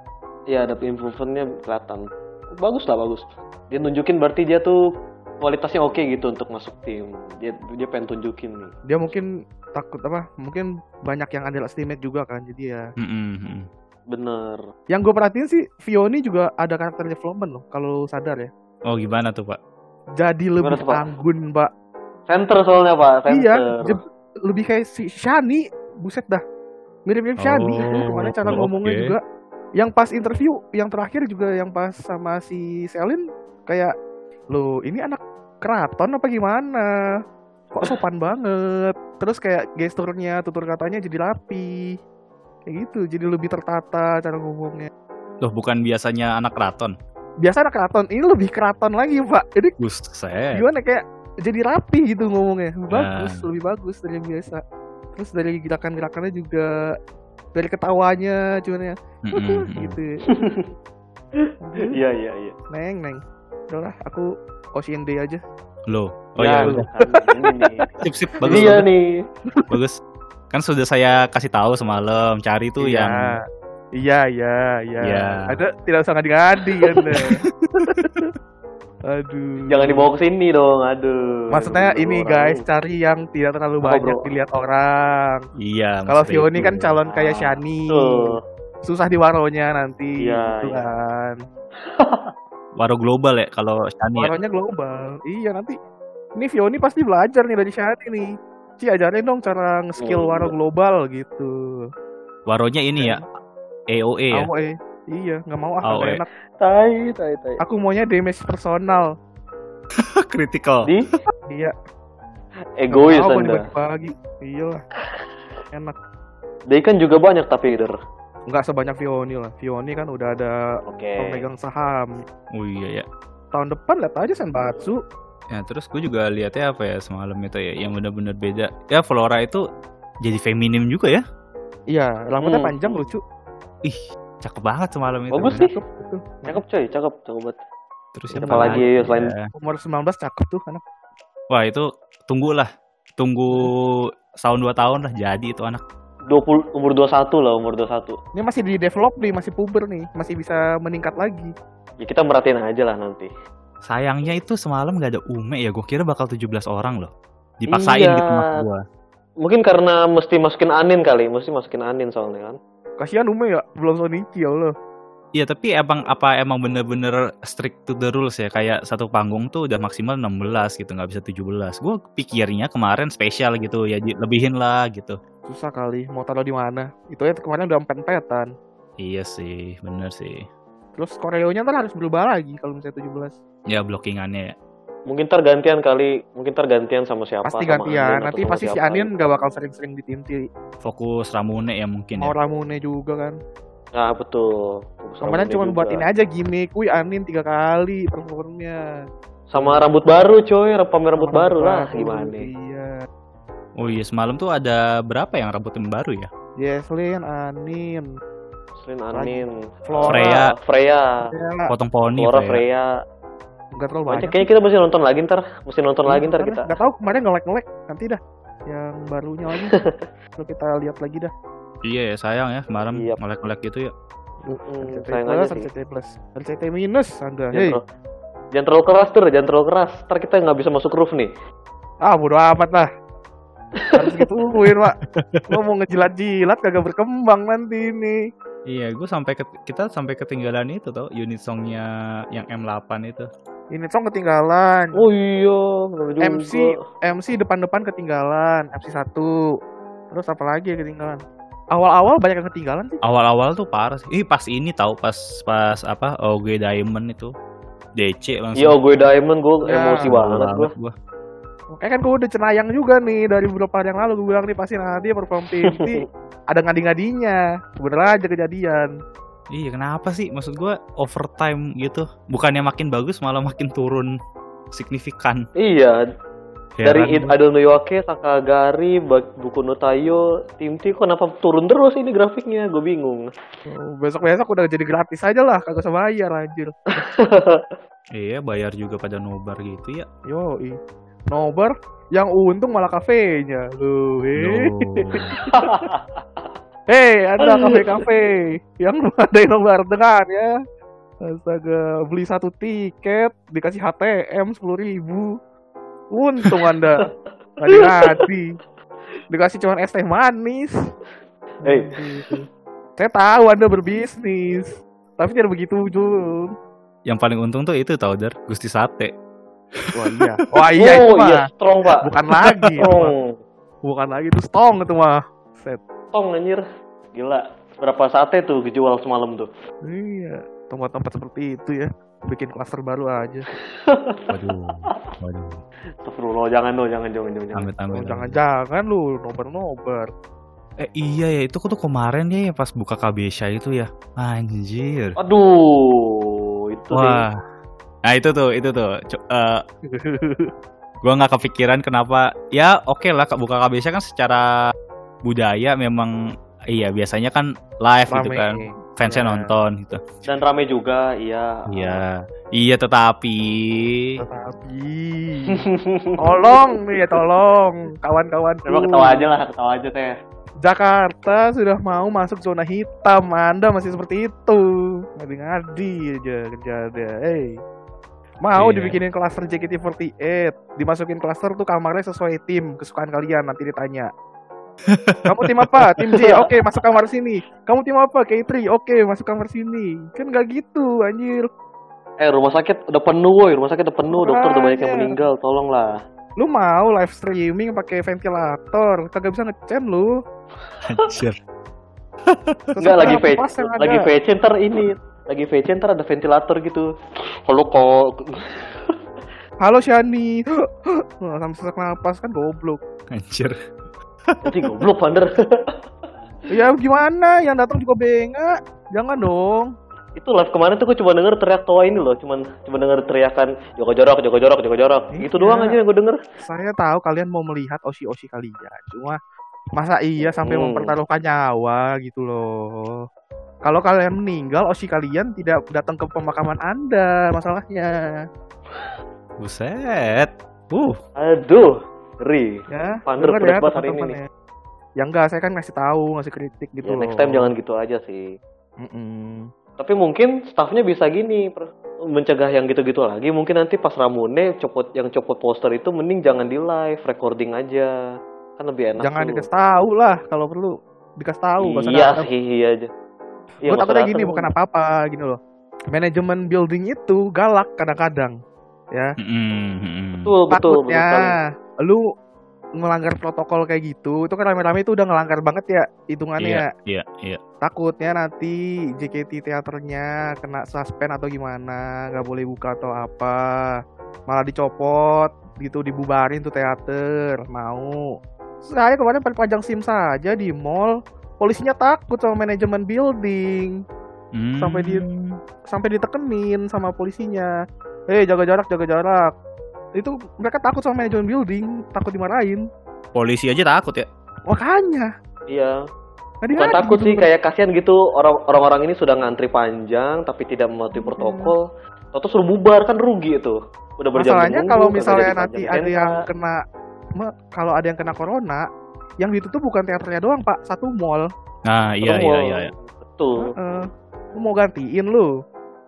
Speaker 4: Iya, ada improvement-nya kelihatan. Bagus lah, bagus. Dia nunjukin berarti dia tuh kualitasnya oke gitu untuk masuk tim. Dia dia pengen tunjukin nih.
Speaker 3: dia mungkin takut apa mungkin banyak yang underestimate juga kan jadi ya
Speaker 2: Mm-mm, mm-mm.
Speaker 4: Bener.
Speaker 3: yang gue perhatiin sih Vioni juga ada karakter development loh kalau sadar ya
Speaker 2: oh gimana tuh pak
Speaker 3: jadi lebih
Speaker 4: tuh, Pak?
Speaker 3: anggun mbak
Speaker 4: Center soalnya, Pak. Center.
Speaker 3: iya je- lebih kayak si Shani buset dah mirip-mirip Shani
Speaker 2: Oh,
Speaker 3: kemarin cara
Speaker 2: oke.
Speaker 3: ngomongnya juga yang pas interview yang terakhir juga yang pas sama si Selin kayak lo ini anak keraton apa gimana kok sopan banget terus kayak gesturnya tutur katanya jadi rapi kayak gitu jadi lebih tertata cara ngomongnya
Speaker 2: Loh, bukan biasanya anak keraton.
Speaker 3: biasa anak keraton ini lebih keraton lagi pak jadi
Speaker 2: Buset.
Speaker 3: gimana kayak jadi rapi gitu ngomongnya
Speaker 2: Nah.
Speaker 3: bagus lebih bagus dari yang biasa terus dari gerakan-gerakannya juga dari ketawanya cuman ya
Speaker 2: Mm-mm, mm-mm.
Speaker 3: gitu
Speaker 4: Iya iya iya.
Speaker 3: neng neng udahlah aku Ocean Day aja
Speaker 2: Loh. Oh iya,
Speaker 4: Nah,
Speaker 2: udah.
Speaker 4: ini nih.
Speaker 2: sip sip
Speaker 4: Ini
Speaker 2: bagus
Speaker 4: ya
Speaker 2: bagus,
Speaker 4: nih.
Speaker 2: bagus. Kan sudah saya kasih tahu semalam cari tuh
Speaker 3: Iya.
Speaker 2: yang
Speaker 3: Iya, iya, iya.
Speaker 2: Iya.
Speaker 3: Ada tidak usah ngadi-ngadi Anda. Aduh.
Speaker 4: Jangan dibawa ke sini dong, aduh.
Speaker 3: Maksudnya
Speaker 4: Aduh,
Speaker 3: ini
Speaker 4: orang.
Speaker 3: guys, cari yang tidak terlalu
Speaker 4: Apa,
Speaker 3: banyak
Speaker 4: bro?
Speaker 3: dilihat orang.
Speaker 2: iya.
Speaker 3: Kalau
Speaker 2: maksudnya
Speaker 3: Vioni
Speaker 2: itu.
Speaker 3: kan calon
Speaker 4: Ah,
Speaker 3: kayak Shani.
Speaker 4: Tuh.
Speaker 3: Susah di waronya nanti
Speaker 4: Iya,
Speaker 3: gitu
Speaker 4: iya.
Speaker 3: kan.
Speaker 2: waro global ya kalau Shani ya.
Speaker 3: Waronya global. Iya, nanti ini Vioni pasti belajar nih dari Shani nih. Ci ajarin dong cara nge-skill
Speaker 4: Iya.
Speaker 3: waro global gitu.
Speaker 2: Waronya ini ya AOE ya.
Speaker 3: Aku eh iya, nggak mau ah,
Speaker 2: AOE.
Speaker 3: nggak enak.
Speaker 4: Tai, tai, tai.
Speaker 3: Aku maunya damage personal.
Speaker 2: Critical.
Speaker 4: Di
Speaker 3: Iya,
Speaker 4: egois
Speaker 3: Tahu
Speaker 4: Anda.
Speaker 3: pagi Iya lah. Enak.
Speaker 4: Dia kan juga banyak tapi leader.
Speaker 3: Enggak sebanyak Vioni lah. Vioni kan udah ada
Speaker 4: Oke.
Speaker 3: pemegang saham.
Speaker 2: Oh iya ya.
Speaker 3: Tahun depan lihat aja Senbatsu.
Speaker 2: Ya, terus gue juga lihatnya apa ya semalam itu ya yang benar-benar beda. Ya Flora itu jadi feminim juga ya.
Speaker 3: Iya, rambutnya
Speaker 4: Hmm.
Speaker 3: panjang lucu.
Speaker 2: Ih, cakep banget semalam itu.
Speaker 4: Bagus sih.
Speaker 3: Cakep gitu. itu.
Speaker 4: Cakep coy, cakep, cakep banget.
Speaker 2: Terus
Speaker 4: Siapa
Speaker 2: apa
Speaker 4: lagi
Speaker 2: lagi
Speaker 4: selain-
Speaker 2: ya?
Speaker 3: Umur 19 cakep tuh kan. anak.
Speaker 2: Wah, itu tunggulah. Tunggu tahun dua tahun lah jadi itu anak.
Speaker 4: 20 umur 21 lah, umur 21.
Speaker 3: Ini masih di develop nih, masih puber nih, masih bisa meningkat lagi.
Speaker 4: Ya kita merhatiin aja lah nanti.
Speaker 2: Sayangnya itu semalam gak ada Ume ya. Gue kira bakal 17 orang loh. Dipaksain
Speaker 4: Iya.
Speaker 2: gitu mas gue.
Speaker 4: Mungkin karena mesti masukin Anin kali, mesti masukin Anin soalnya kan.
Speaker 3: Kasihan Ume ya, belum Sonichi ya Allah.
Speaker 2: Iya, tapi emang apa emang bener-bener strict to the rules ya. Kayak satu panggung tuh udah maksimal 16 gitu, nggak bisa 17. Gue pikirnya kemarin spesial gitu ya, di- lebihin lah gitu.
Speaker 3: Susah kali, mau taruh di mana. Itu ya kemarin udah empet-empetan.
Speaker 2: Iya sih, bener sih.
Speaker 3: Terus koreonya ntar harus berubah lagi kalau misalnya 17.
Speaker 2: Ya blockingannya ya.
Speaker 4: Mungkin tergantian kali, mungkin tergantian sama siapa.
Speaker 3: pasti
Speaker 4: sama Anin
Speaker 3: gantian,
Speaker 4: atau
Speaker 3: nanti
Speaker 4: sama
Speaker 3: pasti si
Speaker 4: siapa.
Speaker 3: Anin gak bakal sering-sering ditinti.
Speaker 2: Fokus Ramune ya mungkin
Speaker 3: Mau
Speaker 2: ya.
Speaker 3: Ramune juga kan.
Speaker 4: Nah, betul. Fokus
Speaker 3: Kemarin
Speaker 4: rambutnya
Speaker 3: cuma
Speaker 4: juga.
Speaker 3: buat ini aja gimmick, wih Anin tiga kali performnya.
Speaker 4: Sama rambut baru coy, pamer rambut
Speaker 3: Orang
Speaker 4: baru lah
Speaker 3: baru,
Speaker 4: gimana nih.
Speaker 3: Iya.
Speaker 2: Oh iya, semalam tuh ada berapa yang rambut yang baru ya?
Speaker 3: Jesslyn, Anin,
Speaker 4: Selain Anin,
Speaker 3: Flora.
Speaker 2: Freya.
Speaker 4: Freya,
Speaker 3: ya,
Speaker 2: Potong poni
Speaker 4: Flora
Speaker 2: Pak, ya.
Speaker 4: Freya.
Speaker 3: nggak terlalu
Speaker 4: Banyak
Speaker 3: banyak.
Speaker 4: kayaknya kita mesti nonton lagi ntar, mesti nonton lagi ntar kita.
Speaker 3: Gak tau kemarin ngelek ngelek, nanti dah yang barunya lagi. Lalu kita lihat lagi dah.
Speaker 2: Iya ya, sayang ya kemarin
Speaker 4: Iya.
Speaker 2: melek-melek gitu ya.
Speaker 4: Hmm,
Speaker 3: RCT
Speaker 4: sayang
Speaker 3: plus,
Speaker 4: aja sih. Ya,
Speaker 3: RCT plus, RCT minus, anda.
Speaker 4: Jangan
Speaker 3: Hei,
Speaker 4: terlalu- Jangan terlalu keras tuh, jangan terlalu keras. Ntar kita nggak bisa masuk roof nih.
Speaker 3: ah bodo amat lah. Harus gituin pak. Lo mau ngejilat-jilat kagak berkembang nanti ini.
Speaker 2: Iya, gue sampai ke, kita sampai ketinggalan itu tau unit songnya yang M8 itu.
Speaker 3: Ini song ketinggalan.
Speaker 4: Oh iya, bener juga.
Speaker 3: MC MC depan-depan ketinggalan, MC 1. Terus apa lagi yang ketinggalan? Awal-awal banyak yang ketinggalan sih.
Speaker 2: Awal-awal tuh parah sih. Ih, pas ini tau pas pas apa OG Diamond itu. DC langsung.
Speaker 4: Iya, gue Diamond, gue
Speaker 3: Ya,
Speaker 4: emosi
Speaker 2: Parah
Speaker 4: banget gue.
Speaker 2: gua.
Speaker 3: Makanya kan gue udah cenayang juga nih dari beberapa hari yang lalu gue bilang nih pasti nanti perform TNT ada ngadi-ngadinya. Bener aja kejadian.
Speaker 2: Iya, kenapa sih? Maksud gue overtime gitu. Bukannya makin bagus malah makin turun signifikan.
Speaker 4: Iya, dari It
Speaker 2: Heran gua.
Speaker 4: Idol Noyoake, Sakagari, Bak- Buku no Tayo, Tim T, kok kenapa turun terus ini grafiknya? Gue bingung.
Speaker 3: Oh, Besok-besok udah jadi gratis aja lah, kagak usah bayar anjir.
Speaker 2: Iya, bayar juga pada nobar gitu ya.
Speaker 3: Yo, nobar yang untung malah kafenya. Lu, eh.
Speaker 2: Duh.
Speaker 3: Hei, ada kafe-kafe yang ada yang nobar dengan ya. Astaga, beli satu tiket dikasih HTM sepuluh ribu. Untung anda tadi hati. Dikasih cuman es teh manis.
Speaker 4: Hei.
Speaker 3: Saya tahu anda berbisnis, tapi tidak begitu Jun.
Speaker 2: Yang paling untung tuh itu tau, Dar. Gusti Sate.
Speaker 3: Wah iya, wah iya itu
Speaker 4: oh
Speaker 3: mah.
Speaker 4: iya, Oh. strong pak.
Speaker 3: Bukan lagi, itu mah.
Speaker 4: Strong.
Speaker 3: bukan lagi itu stong itu mah. Set.
Speaker 4: Tong anjir. Gila. Berapa sate tuh dijual semalam tuh?
Speaker 3: Iya, tempat-tempat seperti itu ya. bikin klaster baru aja.
Speaker 2: Waduh, waduh.
Speaker 4: Astagfirullah, jangan dong, jangan, jangan, jangan. jangan.
Speaker 2: Amit
Speaker 3: Oh,
Speaker 2: amit. amit.
Speaker 3: jangan-jangan lu nobar-nobar.
Speaker 2: Eh, iya ya, itu tuh kemarin ya ya pas buka KBSA itu ya. Anjir.
Speaker 4: Aduh, itu
Speaker 2: Wah. Nah, itu tuh, itu tuh. Co- eh, gua nggak kepikiran kenapa ya oke lah Kak, buka KBSA kan secara budaya memang iya biasanya kan live gitu kan fansnya
Speaker 3: Iya. Ah.
Speaker 2: nonton gitu
Speaker 4: nih. Dan rame juga, iya.
Speaker 2: iya iya tetapi
Speaker 3: Tetapi tolong nih, ya, tolong kawan-kawan.
Speaker 4: Coba ketawa aja lah, ketawa aja teh.
Speaker 3: Jakarta sudah mau masuk zona hitam. Anda masih seperti itu. Ngadi-ngadi aja kerja ada. Hey. Mau
Speaker 2: Iya.
Speaker 3: dibikinin klaster JKT48, dimasukin klaster tuh kamarnya sesuai tim kesukaan kalian nanti ditanya. Kamu tim apa? Tim J. Oke, masuk kamar sini. Kamu tim apa? K3. Oke, masuk kamar sini. Kan gak gitu, anjir.
Speaker 4: Eh, rumah sakit udah penuh, woi. Rumah sakit udah penuh, dokter udah banyak yang
Speaker 3: Makanya.
Speaker 4: meninggal, tolonglah.
Speaker 3: Lu mau live streaming pakai ventilator, kagak bisa ngecen lu.
Speaker 2: anjir
Speaker 4: Enggak lagi
Speaker 3: Sesuai
Speaker 4: VC,
Speaker 3: apa pas yang
Speaker 4: lagi
Speaker 3: ada.
Speaker 4: VC ntar ini. Lagi VC ntar ada ventilator gitu. Kalau kok
Speaker 3: Halo Shani. Wah, Sampai sesak napas kan goblok.
Speaker 2: anjir
Speaker 4: nanti goblok pander.
Speaker 3: Ya gimana? Yang datang juga bengak. Jangan dong.
Speaker 4: itu live kemarin tuh gue cuma denger teriak tawa ini loh, cuman cuma denger teriakan jaga jarak, jaga jarak, jaga jarak. Itu
Speaker 3: Iya.
Speaker 4: doang aja yang gue denger.
Speaker 3: Saya tahu kalian mau melihat osi-osi kalian. Cuma masa iya sampai
Speaker 4: Hmm.
Speaker 3: mempertaruhkan nyawa gitu loh. Kalau kalian meninggal, osi kalian tidak datang ke pemakaman Anda, masalahnya.
Speaker 2: buset uh
Speaker 4: Aduh, ngeri.
Speaker 3: Ya,
Speaker 4: Pander
Speaker 3: Dengar
Speaker 4: pedas banget hari ini
Speaker 3: teman-teman ya. Ya enggak, saya kan ngasih tahu, ngasih kritik gitu
Speaker 4: Ya,
Speaker 3: loh.
Speaker 4: next time jangan gitu aja sih.
Speaker 3: Mm-mm.
Speaker 4: Tapi mungkin staffnya bisa gini, per- mencegah yang gitu-gitu lagi. Mungkin nanti pas Ramune copot yang copot poster itu mending jangan di live, recording aja. Kan lebih enak.
Speaker 3: Jangan
Speaker 4: tuh.
Speaker 3: dikasih tahu lah kalau perlu. Dikasih tahu, nggak usah
Speaker 4: Iya
Speaker 3: datang.
Speaker 4: sih, iya aja.
Speaker 3: gue takutnya gini
Speaker 4: datang.
Speaker 3: bukan apa-apa gini loh manajemen building itu galak kadang-kadang ya
Speaker 2: mm, mm.
Speaker 4: Betul, betul, betul
Speaker 3: takutnya
Speaker 4: sekali.
Speaker 3: lu melanggar protokol kayak gitu itu kan rame-rame itu udah ngelanggar banget ya hitungannya
Speaker 2: iya
Speaker 3: ya.
Speaker 2: iya iya
Speaker 3: takutnya nanti JKT teaternya kena suspend atau gimana nggak boleh buka atau apa malah dicopot gitu dibubarin tuh teater mau saya kemarin perpanjang sim saja di mall polisinya takut sama manajemen building
Speaker 2: Mm.
Speaker 3: Sampai di- sampai ditekenin sama polisinya eh jaga jarak jaga jarak itu mereka takut sama manajemen building takut dimarahin
Speaker 2: polisi aja takut ya
Speaker 3: makanya
Speaker 4: Iya.
Speaker 3: tadi
Speaker 4: Bukan takut sih, kayak kasihan gitu orang- orang-orang ini sudah ngantri panjang tapi tidak
Speaker 3: Iya.
Speaker 4: mematuhi protokol. Atau suruh bubar kan rugi itu. Udah berjam-jam
Speaker 3: masalahnya
Speaker 4: nunggu,
Speaker 3: kalau
Speaker 4: kagak
Speaker 3: misalnya
Speaker 4: jadi
Speaker 3: nanti
Speaker 4: panjang
Speaker 3: ada yang
Speaker 4: tenda.
Speaker 3: kena me- kalau ada yang kena corona yang ditutup bukan teaternya doang pak satu mall
Speaker 2: nah iya iya
Speaker 4: Betul.
Speaker 2: iya, iya.
Speaker 4: Betul.
Speaker 3: Heeh. lu mau gantiin lu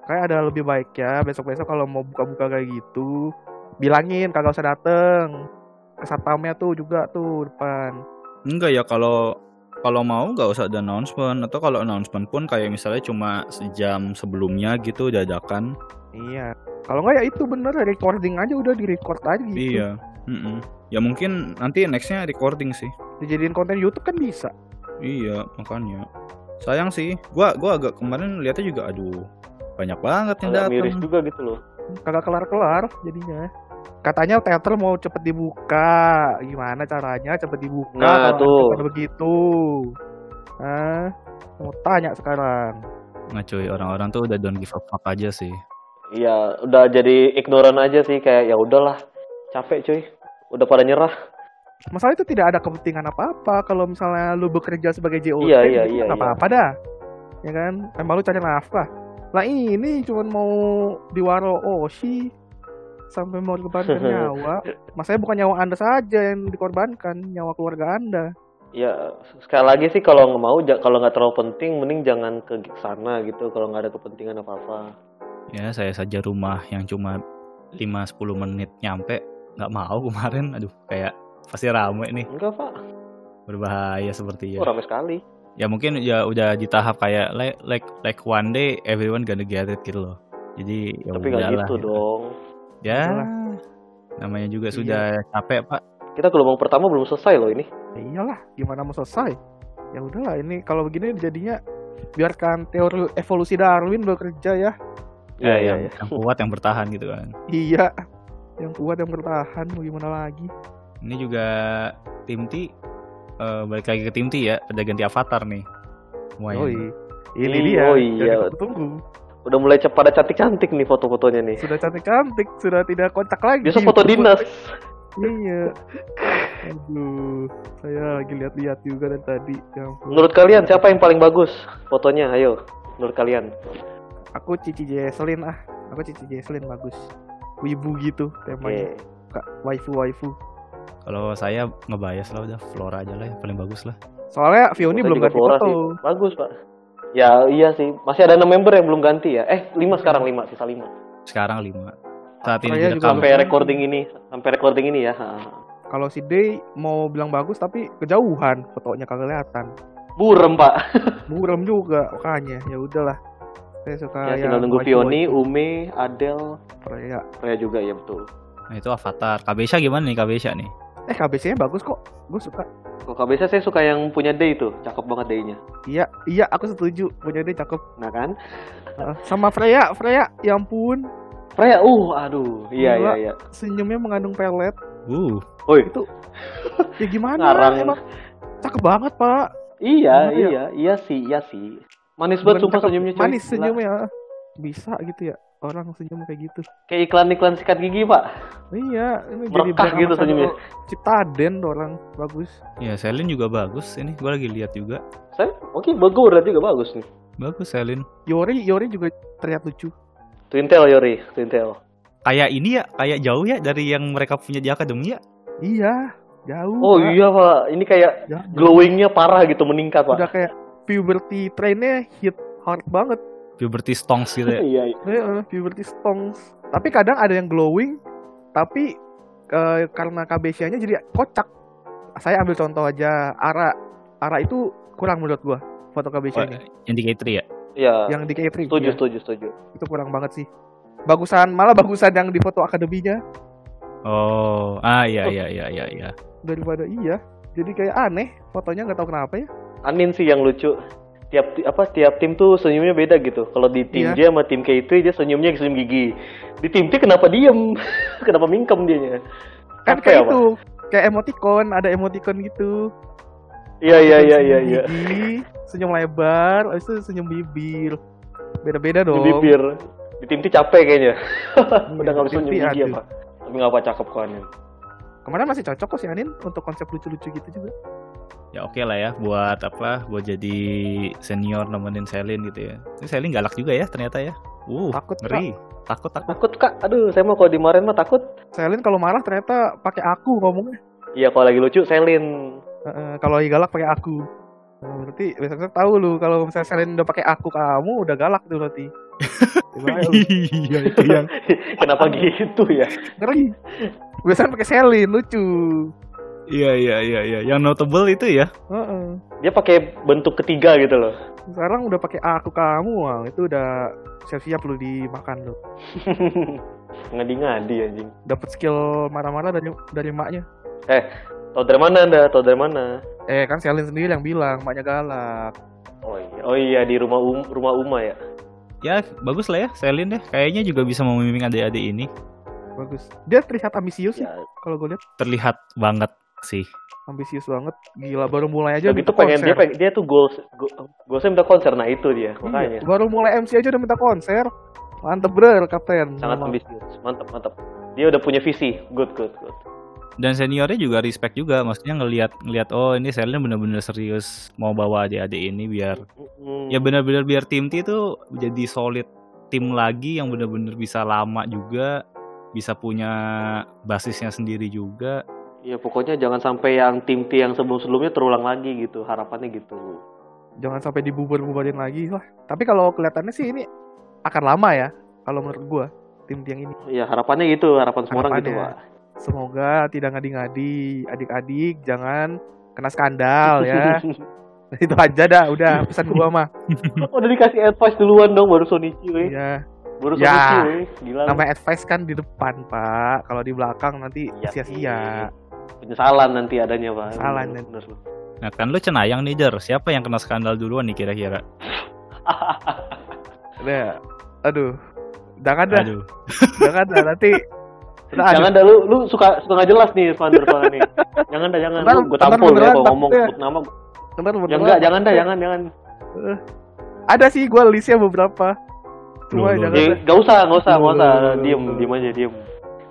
Speaker 3: kayak ada lebih baik ya besok besok kalau mau buka-buka kayak gitu bilangin kagak usah dateng ke satpamnya tuh juga tuh depan
Speaker 2: enggak ya kalau kalau mau nggak usah ada announcement atau kalau announcement pun kayak misalnya cuma sejam sebelumnya gitu dadakan
Speaker 3: Iya. Kalau nggak ya itu bener recording aja udah di record aja gitu.
Speaker 2: iya Mm-mm. ya mungkin nanti nextnya recording sih
Speaker 3: Dijadiin konten YouTube kan bisa.
Speaker 2: Iya, makanya. Sayang sih. Gua gua agak kemarin lihatnya juga aduh. Banyak banget yang
Speaker 4: Agak miris
Speaker 2: datang.
Speaker 4: juga gitu loh.
Speaker 3: Kagak kelar-kelar jadinya. Katanya teater mau cepet dibuka. Gimana caranya cepet dibuka?
Speaker 4: Nah,
Speaker 3: kalau
Speaker 4: tuh.
Speaker 3: ada begitu. Hah? Mau tanya sekarang.
Speaker 2: Nggak Nah, cuy, orang-orang tuh udah don't give a fuck aja sih.
Speaker 4: Iya, udah jadi ignoran aja sih kayak ya udahlah. Capek cuy. Udah pada nyerah.
Speaker 3: Masalah itu tidak ada kepentingan apa-apa kalau misalnya lu bekerja sebagai JOT
Speaker 4: Iya, iya,
Speaker 3: gitu
Speaker 4: iya, iya.
Speaker 3: kan apa-apa dah. Ya kan? Emang lu cari nafkah. Lah ini cuman mau diwaro Oshi sampai mau dikorbankan nyawa. Masanya bukan nyawa Anda saja yang dikorbankan, nyawa keluarga Anda.
Speaker 4: Ya sekali lagi sih kalau nggak mau ja- kalau nggak terlalu penting mending jangan ke sana gitu kalau nggak ada kepentingan apa-apa.
Speaker 2: Ya, saya saja rumah yang cuma 5-10 menit nyampe nggak mau kemarin. Aduh, kayak pasti rame nih.
Speaker 4: Enggak, Pak.
Speaker 2: Berbahaya seperti
Speaker 4: Oh, ramai sekali.
Speaker 2: Ya mungkin ya udah di tahap kayak like like, like one day everyone gonna get it gitu loh. Jadi ya
Speaker 4: Tapi nggak
Speaker 2: udahlah,
Speaker 4: gitu dong.
Speaker 2: Ya.
Speaker 3: Udahlah.
Speaker 2: Namanya juga
Speaker 3: Iya.
Speaker 2: sudah capek, Pak.
Speaker 4: Kita gelombang pertama belum selesai loh ini.
Speaker 3: Ya iyalah, gimana mau selesai? Ya udahlah, ini kalau begini jadinya biarkan teori evolusi Darwin bekerja ya.
Speaker 4: Iya, iya,
Speaker 2: Eh, yang, yang kuat yang bertahan gitu kan.
Speaker 3: Iya. Yang kuat yang bertahan mau gimana lagi?
Speaker 2: Ini juga tim T eh, balik lagi ke tim T ya, udah ganti avatar nih. Semuanya.
Speaker 3: Yoi. Ini
Speaker 4: Hmm,
Speaker 3: dia.
Speaker 4: oh
Speaker 3: yang
Speaker 4: iya.
Speaker 3: kita Tunggu.
Speaker 4: Udah mulai ce- pada cantik-cantik nih foto-fotonya nih.
Speaker 3: Sudah cantik-cantik, sudah tidak kontak lagi.
Speaker 4: Biasa foto dinas.
Speaker 3: Iya. Aduh, saya lagi lihat-lihat juga dari tadi. Ya ampun.
Speaker 4: Menurut kalian siapa yang paling bagus fotonya? Ayo, menurut kalian.
Speaker 3: Aku Cici Jesselin ah. Aku Cici Jesselin bagus. Wibu gitu temanya.
Speaker 4: Oke.
Speaker 3: Kak, waifu waifu.
Speaker 2: Kalau saya ngebayas lah udah Flora aja lah yang paling bagus lah.
Speaker 3: Soalnya
Speaker 4: Fotonya
Speaker 3: Vioni belum
Speaker 4: juga
Speaker 3: ganti
Speaker 4: Flora
Speaker 3: foto.
Speaker 4: sih. Bagus, Pak. Ya, iya sih. Masih ada 6 member yang belum ganti ya. Eh, 5 sekarang 5, sisa 5.
Speaker 2: Sekarang lima. Saat ini
Speaker 3: Saya juga
Speaker 2: direkam.
Speaker 4: Sampai
Speaker 3: Belum.
Speaker 4: recording ini, sampai recording ini ya. Ha, ha.
Speaker 3: Kalau si Day mau bilang bagus tapi kejauhan fotonya kagak kelihatan.
Speaker 4: Burem, Pak.
Speaker 3: Buram juga makanya ya udahlah. Saya suka
Speaker 4: Ya,
Speaker 3: yang Iya.
Speaker 4: tinggal nunggu
Speaker 3: waifu-
Speaker 4: Vioni,
Speaker 3: waifu.
Speaker 4: Ume, Adele,
Speaker 3: Freya.
Speaker 4: Raya juga ya betul.
Speaker 2: Nah, itu avatar. Kabesha gimana nih Kabesha nih?
Speaker 3: Eh KBC-nya bagus kok. Gue suka.
Speaker 4: Kalau KBC saya suka yang punya Day itu, cakep banget Day-nya.
Speaker 3: Iya, iya aku setuju. Punya Day cakep.
Speaker 4: Nah kan?
Speaker 3: Heeh. Sama Freya, Freya, ya ampun,
Speaker 4: Raya, uh, aduh, iya iya
Speaker 3: Gila.
Speaker 4: iya.
Speaker 3: senyumnya mengandung pelet.
Speaker 2: Uh,
Speaker 4: Woi,
Speaker 3: Itu ya gimana?
Speaker 4: Ngarang.
Speaker 3: Emang cakep banget, Pak.
Speaker 4: iya
Speaker 3: Gimana ya?
Speaker 4: iya iya sih iya sih. Manis banget
Speaker 3: Bukan
Speaker 4: sumpah
Speaker 3: cakep,
Speaker 4: senyumnya coy.
Speaker 3: Manis
Speaker 4: Gila.
Speaker 3: senyumnya. Bisa gitu ya. Orang senyum kayak gitu.
Speaker 4: Kayak iklan-iklan sikat gigi, Pak.
Speaker 3: Iya, ini
Speaker 4: Merekah
Speaker 3: brand
Speaker 4: gitu
Speaker 3: ambassador
Speaker 4: senyumnya.
Speaker 3: Ciptaden tuh orang bagus.
Speaker 2: ya Selin juga bagus. Ini gua lagi lihat juga.
Speaker 4: Saya oke, bagus berarti juga bagus nih.
Speaker 2: Bagus Selin.
Speaker 3: Yori, Yori juga terlihat lucu.
Speaker 4: Twintel Yori, Twintel.
Speaker 2: Kayak ini ya, kayak jauh ya dari yang mereka punya di akademi ya.
Speaker 3: Iya, jauh.
Speaker 4: Oh
Speaker 3: Pak.
Speaker 4: iya, Pak. Ini kayak
Speaker 3: Jauh.
Speaker 4: glowingnya parah gitu meningkat, Pak.
Speaker 3: Udah kayak puberty trainnya hit hard banget.
Speaker 2: Puberty stonks gitu ya.
Speaker 4: Iya, iya.
Speaker 3: Heeh, puberty stongs. Tapi kadang ada yang glowing, tapi eh, karena KBC-nya jadi kocak. Saya ambil contoh aja, Ara. Ara itu kurang menurut gua foto KBC-nya.
Speaker 2: yang di K3 ya.
Speaker 4: Iya.
Speaker 3: yang di K3
Speaker 4: Setuju,
Speaker 3: ya,
Speaker 4: setuju, setuju.
Speaker 3: itu kurang banget sih. Bagusan, malah bagusan yang di foto akademinya
Speaker 2: Oh, ah iya iya iya iya iya.
Speaker 3: daripada iya. Jadi kayak aneh fotonya nggak tahu kenapa ya.
Speaker 4: Anin sih yang lucu. Tiap ti- apa tiap tim tuh senyumnya beda gitu. Kalau di tim
Speaker 3: Iya.
Speaker 4: J sama tim K itu dia senyumnya senyum gigi. Di tim T kenapa diem? kenapa mingkem dianya?
Speaker 3: Kan
Speaker 4: Apa ya,
Speaker 3: kayak
Speaker 4: Pak?
Speaker 3: itu, kayak emoticon, ada emoticon gitu.
Speaker 4: Iya, iya, iya, iya,
Speaker 3: Senyum
Speaker 4: iya.
Speaker 3: Gigi, senyum lebar, habis itu senyum bibir. Beda-beda
Speaker 4: Di
Speaker 3: dong.
Speaker 4: bibir. Di tim T capek kayaknya. Udah nggak bisa
Speaker 3: tim T,
Speaker 4: senyum gigi
Speaker 3: Iya, aduh.
Speaker 4: apa. Tapi nggak apa cakep kok Anin.
Speaker 3: Kemarin masih cocok kok si Anin untuk konsep lucu-lucu gitu juga.
Speaker 2: Ya oke lah ya buat apa? Buat jadi senior nemenin Selin gitu ya. Tapi Selin galak juga ya ternyata ya. Uh,
Speaker 3: Takut,
Speaker 2: ngeri. Takut takut.
Speaker 4: Takut kak, aduh saya mau kalau dimarahin mah takut.
Speaker 3: Selin kalau marah ternyata pakai aku ngomongnya.
Speaker 4: Iya kalau lagi lucu Selin.
Speaker 3: Heeh, kalau lagi galak pakai aku. Nah, berarti besok tahu lu kalau misalnya Selin udah pakai aku kamu udah galak tuh berarti. Gimana lu?
Speaker 2: Iya itu yang
Speaker 4: Kenapa gitu ya?
Speaker 3: Ngeri. Biasanya pakai Selin lucu.
Speaker 2: Iya iya iya iya. Yang notable itu ya.
Speaker 3: Heeh.
Speaker 4: Dia pakai bentuk ketiga gitu loh.
Speaker 3: Sekarang udah pakai aku kamu, wah, itu udah siap-siap lu dimakan lu.
Speaker 4: Ngadi-ngadi anjing.
Speaker 3: Dapat skill marah-marah dari dari maknya.
Speaker 4: Tahu dari mana anda? Tahu dari mana?
Speaker 3: Eh kan Selin sendiri yang bilang maknya galak.
Speaker 4: Oh iya, oh iya di rumah um, rumah Uma ya.
Speaker 2: Ya bagus lah ya Selin deh. Kayaknya juga bisa memimpin adik-adik ini.
Speaker 3: Bagus. Dia terlihat ambisius sih
Speaker 4: Ya,
Speaker 3: kalau gue lihat.
Speaker 2: Terlihat banget sih.
Speaker 3: ambisius banget gila baru mulai aja
Speaker 4: udah gitu pengen dia pengen, dia tuh goals go, goalsnya minta konser nah itu dia
Speaker 3: Iya,
Speaker 4: makanya
Speaker 3: baru mulai MC aja udah minta konser mantep bro kapten
Speaker 4: sangat
Speaker 3: Memang.
Speaker 4: ambisius mantap mantap dia udah punya visi good good good
Speaker 2: Dan seniornya juga respect juga. Maksudnya ngelihat ngelihat oh ini Selin bener-bener serius mau bawa adik-adik ini biar
Speaker 4: Mm,
Speaker 2: ya benar-benar biar tim T itu jadi solid tim lagi yang benar-benar bisa lama juga bisa punya basisnya sendiri juga
Speaker 4: ya pokoknya jangan sampai yang tim tim yang sebelum sebelumnya terulang lagi gitu harapannya gitu
Speaker 3: jangan sampai dibubar-bubarin lagi lah tapi kalau kelihatannya sih ini akan lama ya kalau menurut gua tim yang ini
Speaker 4: ya harapannya gitu harapan semua orang gitu
Speaker 3: Harapannya.
Speaker 4: pak
Speaker 3: semoga tidak ngadi-ngadi adik-adik jangan kena skandal ya itu aja dah udah pesan gua mah
Speaker 4: udah dikasih advice duluan dong baru Sonichi weh
Speaker 3: ya
Speaker 4: baru
Speaker 3: Ya.
Speaker 4: Sonichi weh gila lu.
Speaker 3: namanya advice kan di depan pak kalau di belakang nanti
Speaker 4: Iya sih.
Speaker 3: sia-sia
Speaker 4: penyesalan nanti adanya pak
Speaker 3: Penyesalan
Speaker 4: Bener,
Speaker 3: nanti.
Speaker 4: bener lu.
Speaker 2: nah kan lu cenayang nih Jer siapa yang kena skandal duluan nih kira-kira
Speaker 3: Nah, aduh Jangan dah,
Speaker 2: Aduh.
Speaker 3: jangan dah nanti. Nah, aduh,
Speaker 4: jangan dah lu lu suka suka nggak jelas nih Vander soalnya nih jangan dah jangan
Speaker 3: Ntar-
Speaker 4: lu gue
Speaker 3: ntar
Speaker 4: tampol ya
Speaker 3: beneran
Speaker 4: kalau ngomong
Speaker 3: takutnya.
Speaker 4: sebut nama
Speaker 3: bentar, bentar.
Speaker 4: ya enggak jangan dah jangan jangan
Speaker 3: Eh, Ada sih gue listnya beberapa. Cuma
Speaker 2: Loh, loh,
Speaker 3: jangan.
Speaker 4: ya,
Speaker 3: dah.
Speaker 4: gak usah gak usah gak usah
Speaker 3: Aduh.
Speaker 4: diem diem aja diem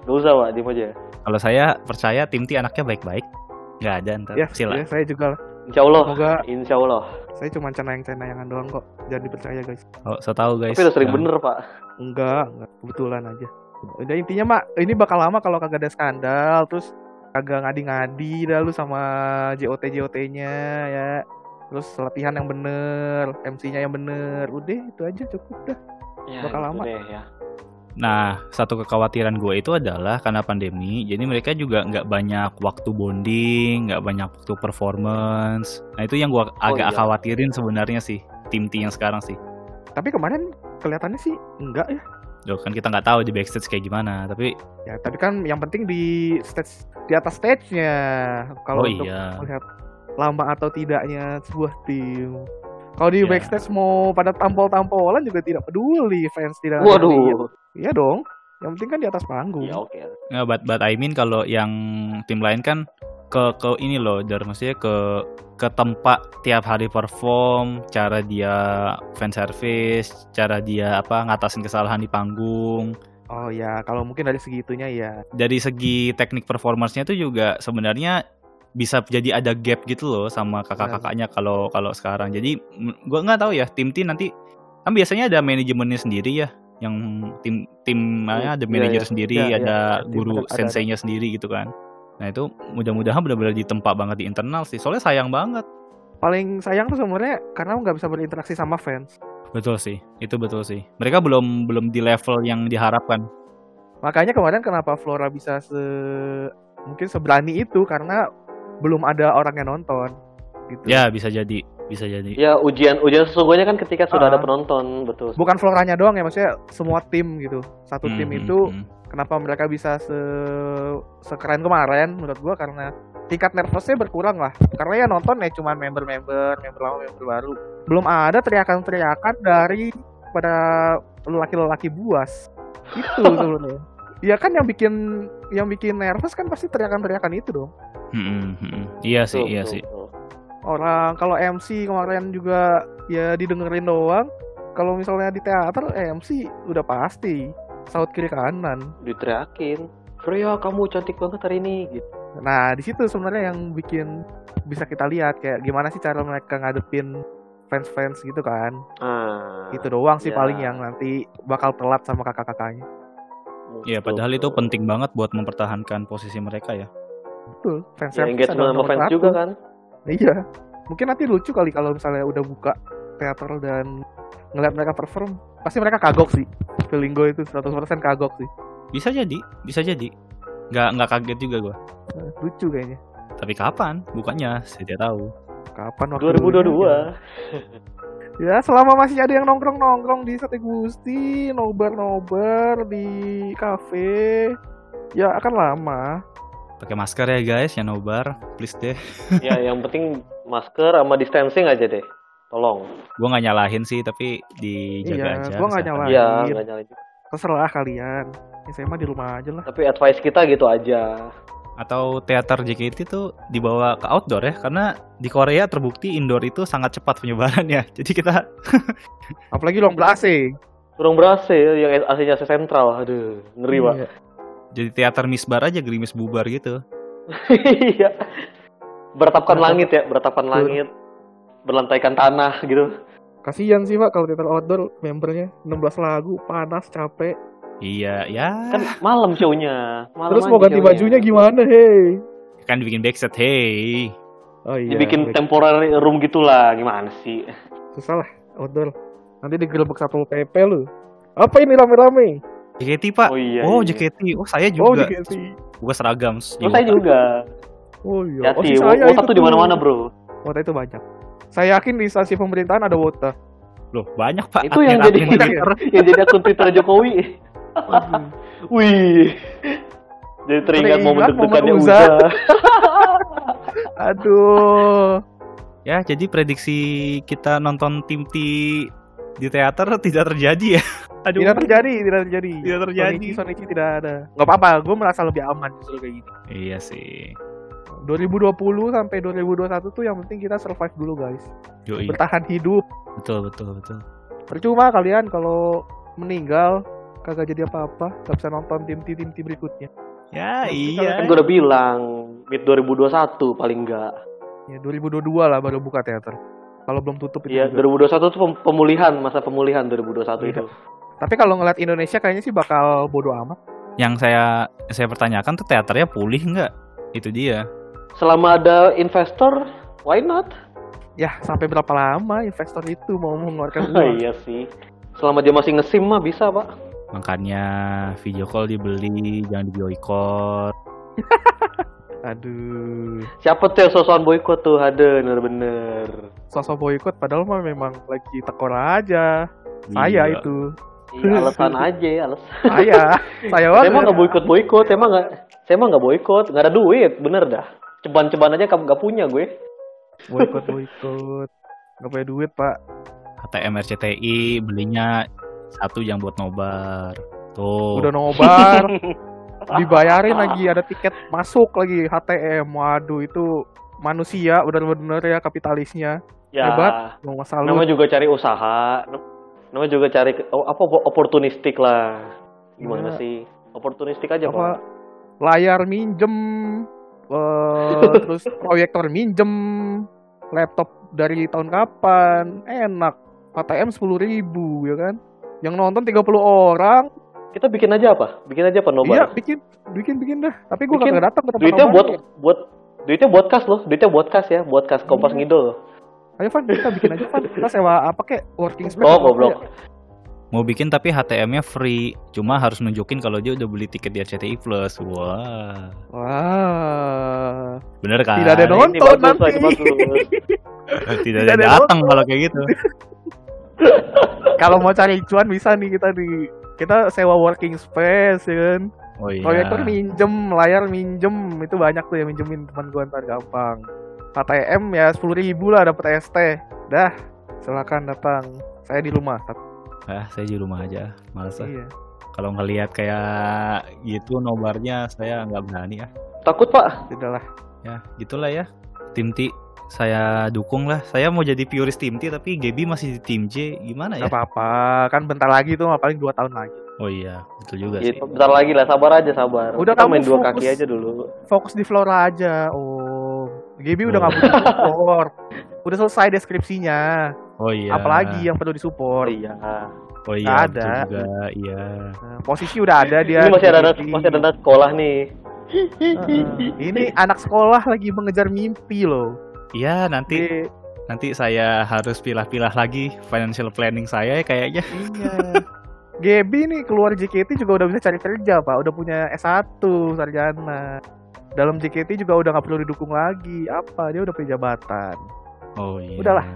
Speaker 4: gak usah pak diem aja
Speaker 2: Kalau saya percaya tim T anaknya baik-baik. Nggak ada
Speaker 4: Iya.
Speaker 2: ntar.
Speaker 3: Ya,
Speaker 2: Sila.
Speaker 3: ya, saya juga lah.
Speaker 4: insya Allah
Speaker 3: Semoga
Speaker 4: insya Allah
Speaker 3: saya cuma cenayang-cenayangan doang kok. Jangan dipercaya guys. ya.
Speaker 2: Oh, so tau guys.
Speaker 4: tapi udah sering
Speaker 2: Nah,
Speaker 4: bener pak
Speaker 3: Enggak, enggak. Kebetulan aja. Udah intinya mak, ini bakal lama kalau kagak ada skandal, terus kagak ngadi-ngadi dah lu sama JOT JOT-nya ya. Terus latihan yang bener, MC-nya yang bener. Udah itu aja cukup dah.
Speaker 4: ya,
Speaker 3: Bakal
Speaker 4: gitu
Speaker 3: lama.
Speaker 4: deh, ya.
Speaker 2: Nah, satu kekhawatiran gue itu adalah karena pandemi, jadi mereka juga nggak banyak waktu bonding, nggak banyak waktu performance. Nah itu yang gue agak
Speaker 4: iya.
Speaker 2: khawatirin sebenarnya sih tim T yang sekarang sih.
Speaker 3: Tapi kemarin kelihatannya sih enggak ya.
Speaker 2: Loh, kan kita nggak tahu di backstage kayak gimana, tapi
Speaker 3: Ya, tapi kan yang penting di stage di atas stage-nya kalau
Speaker 2: Oh,
Speaker 3: untuk
Speaker 2: iya.
Speaker 3: melihat lama atau tidaknya sebuah tim. Kalau di
Speaker 2: Ya.
Speaker 3: backstage mau pada tampol-tampolan juga tidak peduli fans tidak. peduli.
Speaker 4: waduh
Speaker 3: Iya dong. Yang penting kan di atas panggung.
Speaker 2: Iya.
Speaker 4: ya oke
Speaker 2: nggak eh, but, but I mean kalau yang tim lain kan ke ke ini loh, dari maksudnya ke ke tempat tiap hari perform, cara dia fan service, cara dia apa ngatasin kesalahan di panggung.
Speaker 3: Oh ya, kalau mungkin dari segitunya ya.
Speaker 2: dari segi teknik performance-nya tuh juga sebenarnya bisa jadi ada gap gitu loh sama kakak-kakaknya kalau kalau sekarang. Jadi m- gua nggak tahu ya tim tim nanti kan biasanya ada manajemennya sendiri ya yang tim timnya ada
Speaker 4: Iya,
Speaker 2: manajer
Speaker 4: iya.
Speaker 2: sendiri,
Speaker 3: Iya, iya.
Speaker 2: ada
Speaker 3: Tim
Speaker 2: guru
Speaker 3: ada- ada-
Speaker 2: senseinya sendiri gitu kan. Nah itu mudah-mudahan benar-benar ditempa banget di internal sih. Soalnya sayang banget.
Speaker 3: Paling sayang tuh sebenarnya karena nggak bisa berinteraksi sama fans.
Speaker 2: Betul sih. Itu betul sih. Mereka belum belum di level yang diharapkan.
Speaker 3: Makanya kemarin kenapa Flora bisa se mungkin seberani itu karena belum ada orang yang nonton. Gitu.
Speaker 2: Ya bisa jadi, bisa jadi.
Speaker 4: ya ujian ujian sesungguhnya kan ketika sudah
Speaker 3: Ah.
Speaker 4: ada penonton betul
Speaker 3: Bukan Floranya doang ya, maksudnya semua tim gitu. Satu tim
Speaker 2: Hmm,
Speaker 3: itu
Speaker 2: hmm,
Speaker 3: kenapa mereka bisa se sekeren kemarin menurut gua karena tingkat nervousnya berkurang lah karena ya nonton ya cuman member-member member lama member baru belum ada teriakan-teriakan dari pada lelaki-lelaki buas itu sebenarnya ya kan yang bikin yang bikin nervous kan pasti teriakan-teriakan itu dong
Speaker 2: hmm, hmm, hmm. Iya sih,
Speaker 4: Betul,
Speaker 2: iya
Speaker 4: betul,
Speaker 2: sih.
Speaker 4: betul.
Speaker 3: orang kalau MC kemarin juga ya didengerin doang kalau misalnya di teater MC udah pasti saut kiri kanan
Speaker 4: diteriakin Freya kamu cantik banget hari ini gitu
Speaker 3: Nah, di situ sebenarnya yang bikin bisa kita lihat kayak gimana sih cara mereka ngadepin fans-fans gitu kan.
Speaker 4: ah
Speaker 3: Itu doang sih
Speaker 4: ya.
Speaker 3: paling yang nanti bakal telat sama
Speaker 2: Ya
Speaker 3: kakak-kakaknya. Gitu.
Speaker 4: betul,
Speaker 2: padahal itu
Speaker 4: betul.
Speaker 2: penting banget buat mempertahankan posisi mereka ya.
Speaker 3: Betul, fans
Speaker 4: ya, engagement sama fans juga kan
Speaker 3: Iya. Mungkin nanti lucu kali kalau misalnya udah buka teater dan ngeliat mereka perform, pasti mereka kagok sih. Feeling gue itu 100% kagok sih.
Speaker 2: Bisa jadi, bisa jadi. Nggak nggak kaget juga gua.
Speaker 3: Nah, lucu kayaknya.
Speaker 2: Tapi kapan? Bukannya saya tidak tahu.
Speaker 3: Kapan waktu
Speaker 4: 2022
Speaker 3: Ya, selama masih ada yang nongkrong-nongkrong di Sate Gusti, nobar-nobar di kafe, ya akan lama.
Speaker 2: Pakai masker ya guys, yang nobar, please deh.
Speaker 3: kan.
Speaker 4: ya yang penting masker sama distancing aja deh tolong
Speaker 2: Gua nggak nyalahin sih, tapi dijaga
Speaker 3: Iya,
Speaker 2: aja.
Speaker 3: gua
Speaker 2: kesehatan.
Speaker 3: nggak nyalahin. Lain.
Speaker 4: ya nggak nyalain
Speaker 3: Terserah kalian. Ya, saya mah di rumah aja lah.
Speaker 4: tapi advice kita gitu aja
Speaker 2: Atau teater JKT tuh dibawa ke outdoor ya, karena di Korea terbukti indoor itu sangat cepat penyebarannya. Jadi kita
Speaker 3: Apalagi long belasing.
Speaker 4: kurang berhasil yang AC-nya AC sentral aduh ngeri pak
Speaker 3: Iya.
Speaker 2: jadi teater misbar aja, gerimis bubar gitu.
Speaker 4: iya beratapkan
Speaker 3: Beratap-
Speaker 4: langit ya beratapkan
Speaker 3: Betul.
Speaker 4: langit berlantaikan tanah gitu
Speaker 3: Kasihan sih, Pak, kalau teater outdoor membernya 16 lagu, panas, capek.
Speaker 2: Iya, ya.
Speaker 4: kan malam show-nya malam
Speaker 3: Terus mau
Speaker 4: aja
Speaker 3: ganti
Speaker 4: show-nya.
Speaker 3: bajunya gimana, hei?
Speaker 2: Kan dibikin backstage, hey.
Speaker 3: Oh iya.
Speaker 4: dibikin
Speaker 3: baik.
Speaker 4: temporary room gitulah gimana sih
Speaker 3: susah lah outdoor. Nanti digerebek satu PP lu. Apa ini rame-rame?
Speaker 2: JKT pak.
Speaker 4: oh iya
Speaker 2: Oh
Speaker 4: iya.
Speaker 2: JKT, oh saya
Speaker 3: Oh,
Speaker 2: juga.
Speaker 3: dikasih.
Speaker 2: gue seragam
Speaker 4: Oh, saya juga.
Speaker 3: Oh iya.
Speaker 4: Hati,
Speaker 3: si
Speaker 4: oh,
Speaker 3: saya
Speaker 4: otak
Speaker 3: itu
Speaker 4: tuh di mana-mana, Bro.
Speaker 3: Wota itu banyak. Saya yakin di instansi pemerintahan ada Wota.
Speaker 2: loh banyak pak
Speaker 4: Itu yang jadi
Speaker 2: admin-admin
Speaker 3: Banyak ya?
Speaker 2: Twitter.
Speaker 4: yang jadi akun Twitter Jokowi. Wih. Jadi teringat momen
Speaker 3: Teringat momen
Speaker 4: deg-degannya
Speaker 3: Uza.
Speaker 4: Uza.
Speaker 3: Aduh.
Speaker 2: ya jadi prediksi kita nonton tim T di teater tidak terjadi ya Aduh.
Speaker 3: Tidak terjadi, tidak terjadi.
Speaker 2: Tidak terjadi.
Speaker 3: Sonichi, Sonichi tidak ada. Gak apa-apa, gue merasa lebih aman justru kayak gitu. gini.
Speaker 2: Iya sih.
Speaker 3: 2020 sampai 2021 tuh yang penting kita survive dulu guys.
Speaker 2: Yoi.
Speaker 3: Bertahan hidup.
Speaker 2: Betul betul betul.
Speaker 3: Percuma kalian kalau meninggal kagak jadi apa-apa, gak bisa nonton tim tim tim berikutnya.
Speaker 2: Ya
Speaker 3: Nanti
Speaker 2: iya.
Speaker 4: Kan gue udah bilang mid 2021 paling enggak.
Speaker 3: Ya 2022 lah baru buka teater. Kalau belum tutup itu.
Speaker 4: Iya,
Speaker 3: juga.
Speaker 4: 2021 tuh pem- pemulihan, masa pemulihan 2021
Speaker 3: Iya.
Speaker 4: itu.
Speaker 3: Tapi kalau ngeliat Indonesia kayaknya sih bakal bodo amat.
Speaker 2: Yang saya saya pertanyakan tuh teaternya pulih nggak? Itu dia.
Speaker 4: Selama ada investor, why not?
Speaker 3: Ya sampai berapa lama investor itu mau mengeluarkan
Speaker 4: Oh,
Speaker 3: uang?
Speaker 4: iya sih. Selama dia masih ngesim mah bisa, Pak.
Speaker 2: Makanya video call dibeli, jangan di boycott.
Speaker 4: iya.
Speaker 3: Aduh,
Speaker 4: Siapa tuh yang sosokan boykot tuh? Ada, bener-bener.
Speaker 3: sosok boykot padahal mah memang lagi tekor aja. Saya
Speaker 2: Gila.
Speaker 3: itu,
Speaker 4: Iya, alasan aja ya, alasan.
Speaker 3: saya,
Speaker 4: Saya
Speaker 3: saya
Speaker 4: emang
Speaker 3: banget.
Speaker 4: nggak boykot boykot, emang nggak, saya emang nggak boykot, nggak ada duit, bener dah. Ceban-ceban aja kamu nggak punya gue.
Speaker 3: Boykot boykot, nggak punya duit pak.
Speaker 2: ATM RCTI belinya satu yang buat nobar. Tuh.
Speaker 4: Oh.
Speaker 3: Udah nobar, dibayarin lagi, ada tiket masuk lagi HTM. Waduh itu manusia benar-benar ya kapitalisnya.
Speaker 4: Ya,
Speaker 3: Hebat. Mau masalah
Speaker 4: nama juga cari usaha, nama juga cari ke- oh, apa oportunistik lah. Gimana
Speaker 3: Iya.
Speaker 4: sih? Oportunistik aja
Speaker 3: apa
Speaker 4: pak.
Speaker 3: layar minjem eh, terus proyektor minjem laptop dari tahun kapan enak ATM sepuluh ribu ya kan yang nonton 30 orang
Speaker 4: Kita bikin aja apa? Bikin aja
Speaker 3: iya
Speaker 4: penobar.
Speaker 3: bikin bikin bikin dah tapi gue
Speaker 4: Oh, Bikin.
Speaker 3: kagak datang ke tempat
Speaker 4: duitnya
Speaker 3: nobar.
Speaker 4: buat buat duitnya buat kas loh, duitnya buat kas ya, buat kas kompas
Speaker 3: Iya.
Speaker 4: ngidol.
Speaker 3: ayo Fan kita bikin aja Fan kita sewa apa kek working space
Speaker 4: Oh
Speaker 3: apa
Speaker 4: goblok.
Speaker 3: kek.
Speaker 2: Mau bikin tapi HTM-nya free. Cuma harus nunjukin kalau dia udah beli tiket di RCTI Plus. Wah.
Speaker 3: wah
Speaker 2: Bener kan?
Speaker 3: Tidak ada
Speaker 4: Ini
Speaker 3: Nonton
Speaker 4: bagus,
Speaker 3: nanti.
Speaker 4: ini bagus.
Speaker 2: Tidak
Speaker 3: Tidak
Speaker 2: ada
Speaker 3: ada
Speaker 2: datang kalau kayak gitu.
Speaker 3: kalau mau cari cuan bisa nih kita di kita sewa working space ya kan
Speaker 2: Oh iya.
Speaker 3: Proyektor minjem, layar minjem, itu banyak tuh yang minjemin teman gue ntar gampang. ATM ya sepuluh ribu lah dapat ST. Dah, silakan datang. Saya di rumah.
Speaker 2: Ah, saya di rumah aja. Males ah.
Speaker 3: Iya.
Speaker 2: Kalau ngelihat kayak gitu nobarnya saya nggak berani ya.
Speaker 4: Takut pak?
Speaker 3: Sudahlah.
Speaker 2: Ya, gitulah ya. Tim T saya dukung lah. Saya mau jadi purist tim T tapi Gaby masih di tim J. Gimana ya?
Speaker 3: Gak apa-apa. Kan bentar lagi tuh paling 2 tahun lagi.
Speaker 2: Oh iya, betul juga
Speaker 4: Ya,
Speaker 3: Gitu.
Speaker 2: sih.
Speaker 4: bentar lagi lah, sabar aja sabar.
Speaker 3: Udah,
Speaker 4: Kita
Speaker 3: kamu
Speaker 4: main dua
Speaker 3: fokus.
Speaker 4: kaki aja dulu.
Speaker 3: Fokus di Flora aja. Oh. Gibi
Speaker 2: Oh.
Speaker 3: udah nggak butuh support. Udah selesai deskripsinya.
Speaker 2: Oh iya.
Speaker 3: Apalagi yang
Speaker 4: Oh,
Speaker 3: perlu disupport.
Speaker 4: iya.
Speaker 2: Oh iya,
Speaker 3: Nggak
Speaker 2: betul
Speaker 3: ada.
Speaker 2: juga. Iya.
Speaker 3: Nah, posisi udah ada dia.
Speaker 4: ini masih ada
Speaker 3: Gibi.
Speaker 4: masih ada anak sekolah nih.
Speaker 3: Heeh. Ini anak sekolah lagi mengejar mimpi loh.
Speaker 2: Iya, nanti
Speaker 3: Di-
Speaker 2: nanti saya harus pilah-pilah lagi financial planning saya ya kayaknya.
Speaker 3: Iya. Gaby nih keluar JKT juga udah bisa cari kerja pak, udah punya S1 sarjana. Dalam JKT juga udah nggak perlu didukung lagi, apa dia udah punya jabatan.
Speaker 2: Oh iya.
Speaker 3: Udahlah.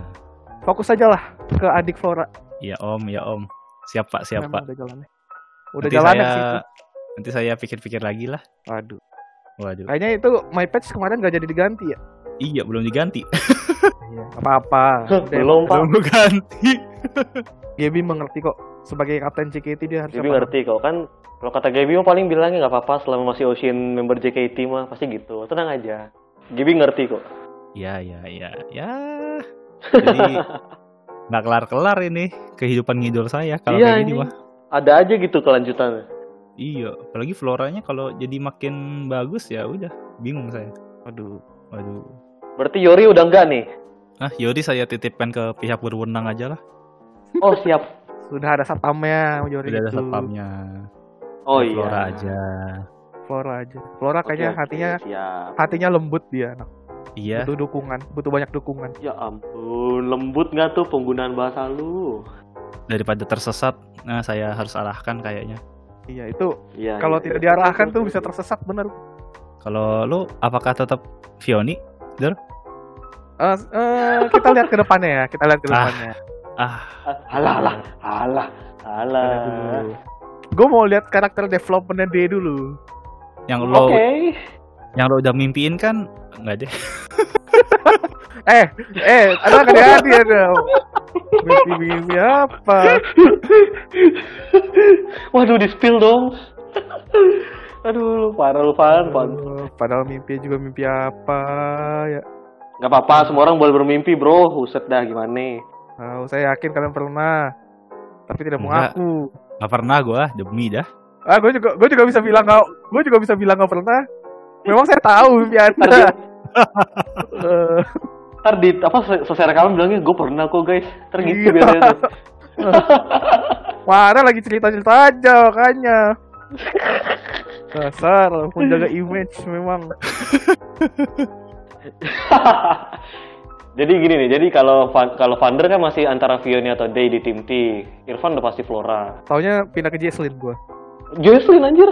Speaker 3: Fokus aja lah ke adik Flora.
Speaker 2: Ya Om, ya Om. Siap Pak, siap
Speaker 3: Memang
Speaker 2: Pak.
Speaker 3: Udah jalannya. Udah
Speaker 2: nanti
Speaker 3: jalannya
Speaker 2: saya
Speaker 3: ke situ.
Speaker 2: nanti saya pikir-pikir lagi lah.
Speaker 3: Waduh.
Speaker 2: Waduh.
Speaker 3: Kayaknya itu my patch kemarin gak jadi diganti ya.
Speaker 2: Iya, belum diganti.
Speaker 3: Iya. Apa-apa. Udah,
Speaker 4: Belum pak.
Speaker 2: belum diganti.
Speaker 3: Gaby mengerti kok. Sebagai kapten JKT dia harus
Speaker 4: Gaby
Speaker 3: apa?
Speaker 4: ngerti kok kan. Kalau kata Gaby mah paling bilangnya nggak apa-apa selama masih Ocean member JKT mah pasti gitu. Tenang aja. Gaby ngerti kok.
Speaker 2: Ya, ya, ya, ya. Jadi nggak kelar-kelar ini kehidupan ngidol saya kalau
Speaker 4: Iya,
Speaker 2: kayak gini
Speaker 4: ini.
Speaker 2: mah.
Speaker 4: Ada aja gitu kelanjutannya.
Speaker 2: Iya, apalagi floranya kalau jadi makin bagus ya udah bingung saya.
Speaker 3: Aduh.
Speaker 2: Waduh.
Speaker 4: Berarti Yori udah enggak nih.
Speaker 2: Ah, Yori saya titipkan ke pihak berwenang aja lah.
Speaker 4: Oh siap.
Speaker 3: Sudah ada satpamnya Yori
Speaker 2: Udah ada
Speaker 3: itu.
Speaker 2: satpamnya.
Speaker 4: Oh iya.
Speaker 2: Flora aja.
Speaker 3: Flora aja. Flora
Speaker 4: Oke,
Speaker 3: kayaknya
Speaker 4: oke,
Speaker 3: hatinya
Speaker 4: siap.
Speaker 3: hatinya lembut dia. anak.
Speaker 2: Iya.
Speaker 3: Butuh dukungan, butuh banyak dukungan.
Speaker 4: Ya ampun, lembut nggak tuh penggunaan bahasa lu?
Speaker 2: Daripada tersesat, nah saya harus arahkan kayaknya.
Speaker 3: Iya itu
Speaker 4: Iya.
Speaker 3: kalau
Speaker 4: iya,
Speaker 3: tidak
Speaker 4: iya.
Speaker 3: diarahkan tuh bisa tersesat bener.
Speaker 2: Kalau lu apakah tetap Vioni?
Speaker 3: Eh, s- eh, kita lihat ke depannya ya, kita lihat ke depannya.
Speaker 2: Ah,
Speaker 4: Alah, alah, alah, alah.
Speaker 3: Gue mau lihat karakter developmentnya dia dulu.
Speaker 2: yang
Speaker 4: Oke.
Speaker 2: lo yang lo udah mimpiin kan nggak deh.
Speaker 3: eh, eh, ada hati-hati ada. Mimpi-mimpi apa?
Speaker 4: Waduh, di spill dong. Aduh, lu parah lu Van, Van.
Speaker 3: Aduh, Padahal mimpi juga mimpi apa ya?
Speaker 4: Gak apa-apa, semua orang boleh bermimpi bro. Huset dah gimana?
Speaker 3: Tahu, saya yakin kalian pernah, tapi tidak mau
Speaker 2: Enggak.
Speaker 3: ngaku.
Speaker 2: Gak pernah gue, demi dah.
Speaker 3: Ah, gue juga, gue juga bisa bilang kau, gue juga bisa bilang nggak pernah. Memang saya tahu mimpi anda. Eh,
Speaker 4: Ntar di apa se- selesai rekaman bilangnya gue pernah kok guys. Ntar gitu
Speaker 3: Iya.
Speaker 4: biasanya tuh.
Speaker 3: Mana lagi cerita-cerita aja makanya. Dasar, menjaga image memang.
Speaker 4: jadi gini nih, jadi kalau Van- kalau Vander kan masih antara Vioni atau Day di tim T. Irfan udah pasti Flora.
Speaker 3: Taunya pindah ke Jesslyn gue.
Speaker 4: Jocelyn anjir.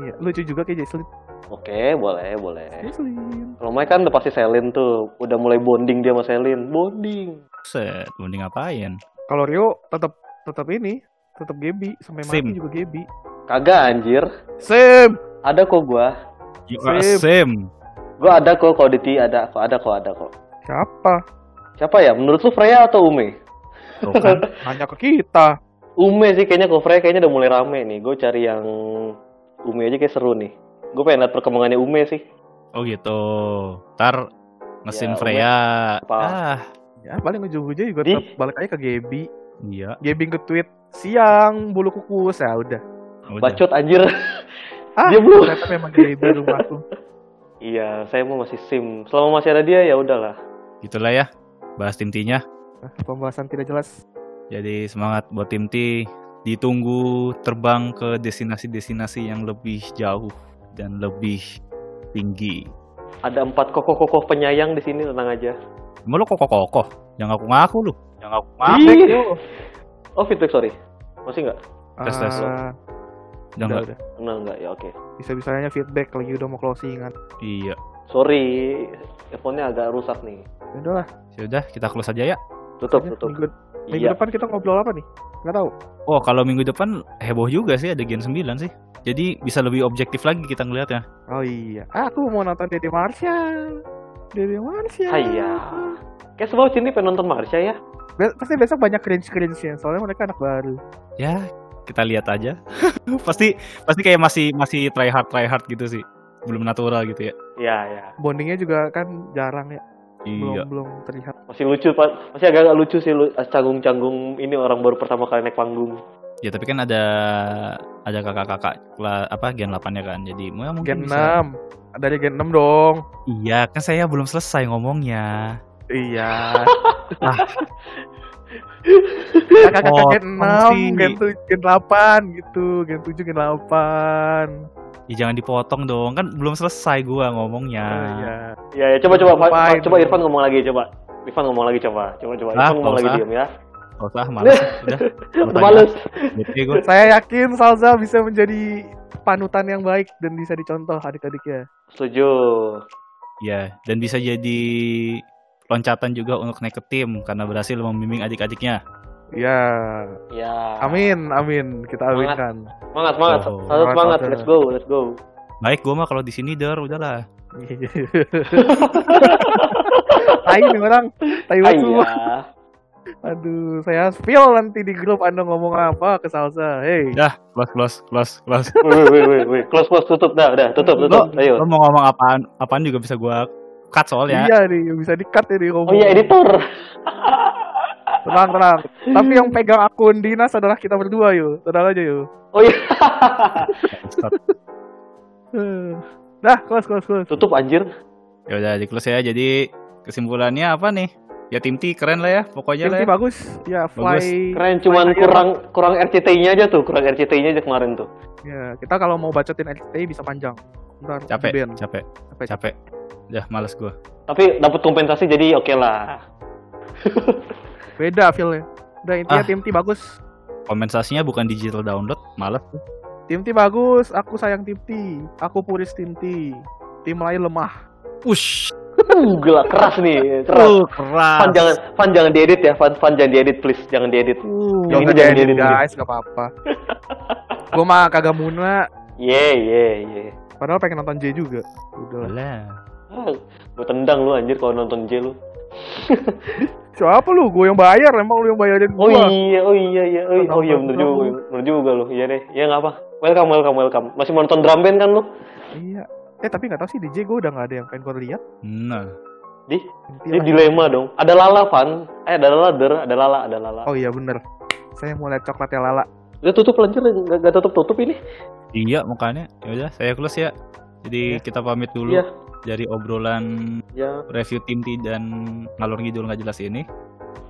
Speaker 3: Iya, lucu juga kayak Jesslyn.
Speaker 4: Oke, boleh, boleh.
Speaker 3: Jesslyn.
Speaker 4: Kalau Mike kan udah pasti Selin tuh, udah mulai bonding dia sama Selin. Bonding.
Speaker 2: Set, mending ngapain?
Speaker 3: Kalau Rio tetap tetap ini, tetap Gebi sampai mati
Speaker 2: Sim.
Speaker 3: juga Gebi.
Speaker 4: Kagak anjir.
Speaker 3: Sim.
Speaker 4: Ada kok gua.
Speaker 2: You are
Speaker 3: Sip.
Speaker 2: same.
Speaker 4: Gua ada kok kalau di T ada kok, ada kok, ada kok.
Speaker 3: Siapa?
Speaker 4: Siapa ya? Menurut lu Freya atau Ume?
Speaker 2: Tuh kan.
Speaker 3: Nanya ke kita.
Speaker 4: Ume sih kayaknya kok Freya kayaknya udah mulai rame nih. Gue cari yang Ume aja kayak seru nih. Gue pengen lihat perkembangannya Ume sih.
Speaker 2: Oh gitu. Ntar ngesim
Speaker 4: Ya,
Speaker 2: Freya.
Speaker 4: Apa?
Speaker 2: Ah,
Speaker 3: Ya paling ujung-ujungnya juga
Speaker 4: Di?
Speaker 3: tetap balik aja ke Gebi.
Speaker 2: iya.
Speaker 3: Gebi nge-tweet siang bulu kukus ya udah.
Speaker 2: udah.
Speaker 4: Bacot anjir.
Speaker 3: Ah,
Speaker 4: Dia belum.
Speaker 3: ternyata memang Gebi rumahku.
Speaker 4: iya, saya mau masih SIM. Selama masih ada dia ya udahlah.
Speaker 2: Gitulah ya. Bahas tim T-nya.
Speaker 3: Nah, pembahasan tidak jelas.
Speaker 2: Jadi semangat buat tim T. Ditunggu terbang ke destinasi-destinasi yang lebih jauh dan lebih tinggi.
Speaker 4: Ada empat kokoh-kokoh penyayang di sini tenang aja.
Speaker 2: Emang lo kokoh-kokoh? Jangan aku ngaku lu. Jangan aku ngaku.
Speaker 4: Ih.
Speaker 3: Rio.
Speaker 4: Oh, feedback sorry. Masih nggak?
Speaker 2: Tes, tes.
Speaker 3: Ah,
Speaker 2: Jangan.
Speaker 3: udah.
Speaker 4: Enggak, enggak. Ya oke.
Speaker 3: Bisa-bisanya feedback lagi udah mau kan. closingan.
Speaker 2: Iya.
Speaker 4: Sorry, teleponnya agak rusak nih.
Speaker 3: Ya udahlah.
Speaker 2: Sudah, kita close aja ya.
Speaker 4: Tutup,
Speaker 3: Ya,
Speaker 4: tutup.
Speaker 3: Minggu, minggu
Speaker 4: Iya.
Speaker 3: depan kita ngobrol apa nih? Nggak tahu.
Speaker 2: Oh, kalau minggu depan heboh juga sih ada Gen 9 sih. Jadi bisa lebih objektif lagi kita ngelihatnya.
Speaker 3: Oh iya, aku mau nonton Dede Marsha. Dede Marsha.
Speaker 4: Hayah. Kayak semua sini pengen nonton Marsha ya.
Speaker 3: Be- pasti besok banyak cringe cringe nya soalnya mereka anak baru.
Speaker 2: Ya, kita lihat aja. pasti pasti kayak masih masih try hard try hard gitu sih. Belum natural gitu ya.
Speaker 4: Iya, ya.
Speaker 3: Bondingnya juga kan jarang ya, belum
Speaker 2: Iya.
Speaker 3: belum terlihat.
Speaker 4: Masih lucu, Pak. Masih agak-agak lucu sih lu- canggung-canggung ini orang baru pertama kali naik panggung.
Speaker 2: Ya, tapi kan ada ada kakak-kakak kela- apa Gen 8-nya kan. Jadi ya mungkin
Speaker 3: Gen
Speaker 2: bisa.
Speaker 3: 6, dari Gen 6 dong.
Speaker 2: Iya, kan saya belum selesai ngomongnya.
Speaker 3: Iya.
Speaker 2: Ah.
Speaker 3: Kakak-kakak Gen
Speaker 2: Potong
Speaker 3: 6,
Speaker 2: sih.
Speaker 3: Gen 7, Gen 8 gitu, Gen 7, Gen 8.
Speaker 2: Ya jangan dipotong dong. Kan belum selesai gua ngomongnya.
Speaker 3: Oh, iya.
Speaker 4: Iya, ya coba coba Pak,
Speaker 3: Lupain.
Speaker 4: Pak, coba Irfan ngomong lagi coba. Irfan ngomong lagi coba. Coba coba
Speaker 2: Ah,
Speaker 4: Irfan ngomong
Speaker 2: nggak
Speaker 4: lagi
Speaker 2: usah.
Speaker 4: diam ya.
Speaker 2: Gak usah, males. Udah.
Speaker 4: Udah males.
Speaker 2: Bete gua.
Speaker 3: Saya yakin Salsa bisa menjadi panutan yang baik dan bisa dicontoh adik-adiknya.
Speaker 4: Setuju.
Speaker 2: Ya, dan bisa jadi loncatan juga untuk naik ke tim karena berhasil membimbing adik-adiknya.
Speaker 3: Iya.
Speaker 4: Ya.
Speaker 3: Amin, amin. Kita
Speaker 4: Semangat.
Speaker 3: aminkan.
Speaker 4: Semangat, semangat.
Speaker 2: Oh.
Speaker 4: Satu semangat.
Speaker 3: Semangat,
Speaker 4: Let's go, let's go.
Speaker 2: Baik, gua mah kalau di sini der udahlah.
Speaker 3: tai nih orang, tai banget semua.
Speaker 4: Iya.
Speaker 3: Aduh, saya spill nanti di grup Anda ngomong apa ke Salsa. Hey,
Speaker 2: Dah, close close close close.
Speaker 4: Wih, wih, wih, wih. Close, close, tutup dah, udah, tutup, tutup. Ayo.
Speaker 2: Lo mau ngomong apaan? Apaan juga bisa gua cut soalnya.
Speaker 3: iya nih, bisa di-cut ya nih
Speaker 4: Oh
Speaker 3: ngomong.
Speaker 4: iya, editor.
Speaker 3: Tenang, tenang. Tapi yang pegang akun dinas adalah kita berdua yuk. Tenang aja yuk.
Speaker 4: Oh iya.
Speaker 3: Eh, Dah, close, close, close.
Speaker 4: Tutup anjir.
Speaker 2: Ya udah di close ya. Jadi kesimpulannya apa nih? Ya tim T keren lah ya, pokoknya
Speaker 3: Tim
Speaker 2: lah.
Speaker 3: T
Speaker 2: Ya.
Speaker 3: bagus. Ya, fly.
Speaker 4: Keren cuman
Speaker 3: fly higher.
Speaker 4: kurang kurang RCT-nya aja tuh, kurang RCT-nya aja kemarin tuh.
Speaker 3: Ya, kita kalau mau bacotin RCTI bisa panjang. Ntar
Speaker 2: Capek,
Speaker 3: di-ban.
Speaker 2: capek,
Speaker 3: Capek. capek.
Speaker 2: capek. Udah males gua.
Speaker 4: Tapi dapat kompensasi jadi oke lah.
Speaker 3: Beda feel-nya. Udah intinya
Speaker 2: Ah.
Speaker 3: tim T bagus.
Speaker 2: Kompensasinya bukan digital download, males.
Speaker 3: Tim T bagus, aku sayang tim T. Aku puris tim T. Tim lain lemah.
Speaker 2: Push.
Speaker 4: Uh, gila keras nih, keras.
Speaker 2: Uh, keras.
Speaker 4: Fan jangan Fan jangan diedit ya, Fan Fan jangan diedit please, jangan diedit.
Speaker 3: Uh,
Speaker 4: Yang ini jangan diedit,
Speaker 3: guys, gak apa-apa. Gua mah kagak muna,
Speaker 4: Ye ye ye.
Speaker 3: padahal pengen nonton J juga. Udah lah.
Speaker 2: Lah.
Speaker 4: gue tendang lu anjir kalau nonton J lu
Speaker 3: Siapa lu? Gue yang bayar, emang lu yang bayarin
Speaker 4: oh
Speaker 3: gua.
Speaker 4: iya oh iya iya oh iya, oh, iya bener juga bener juga lu iya deh iya nggak apa welcome welcome welcome masih mau nonton drum band kan lu
Speaker 3: Iya. Eh tapi nggak tahu sih DJ gue udah nggak ada yang pengen gue lihat.
Speaker 2: Nah,
Speaker 4: di
Speaker 3: Impian
Speaker 4: ini
Speaker 3: aja.
Speaker 4: dilema dong ada lala fan eh ada lala der ada lala ada lala
Speaker 3: Oh iya bener. Saya mau lihat coklatnya Lala.
Speaker 4: udah tutup lanjut nggak nggak tutup tutup ini
Speaker 2: iya makanya. Ya udah, saya close ya. Jadi kita pamit dulu
Speaker 4: Iya.
Speaker 2: dari obrolan
Speaker 4: ya
Speaker 2: review tim T dan ngalur ngidul nggak jelas ini.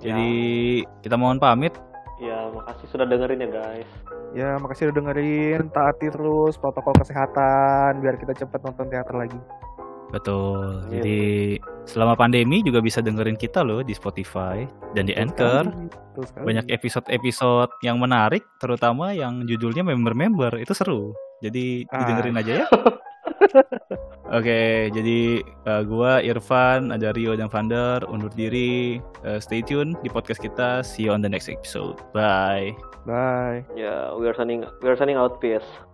Speaker 2: Jadi kita mohon pamit.
Speaker 4: Ya, makasih sudah dengerin ya guys.
Speaker 3: Ya makasih udah dengerin. Taati terus protokol kesehatan biar kita cepet nonton teater lagi.
Speaker 2: Betul.
Speaker 4: Iya.
Speaker 2: Jadi selama pandemi juga bisa dengerin kita loh di Spotify dan di Anchor.
Speaker 3: Terus sekali.
Speaker 2: Banyak ya. episode-episode yang menarik, terutama yang judulnya member-member itu seru. Jadi
Speaker 3: Ah.
Speaker 2: dengerin aja ya. Oke, jadi eh, gua Irfan, ada Rio dan Vander undur diri. Eh, stay tune di podcast kita. See you on the next episode. Bye.
Speaker 3: Bye.
Speaker 4: Ya, we are signing we are signing out PS.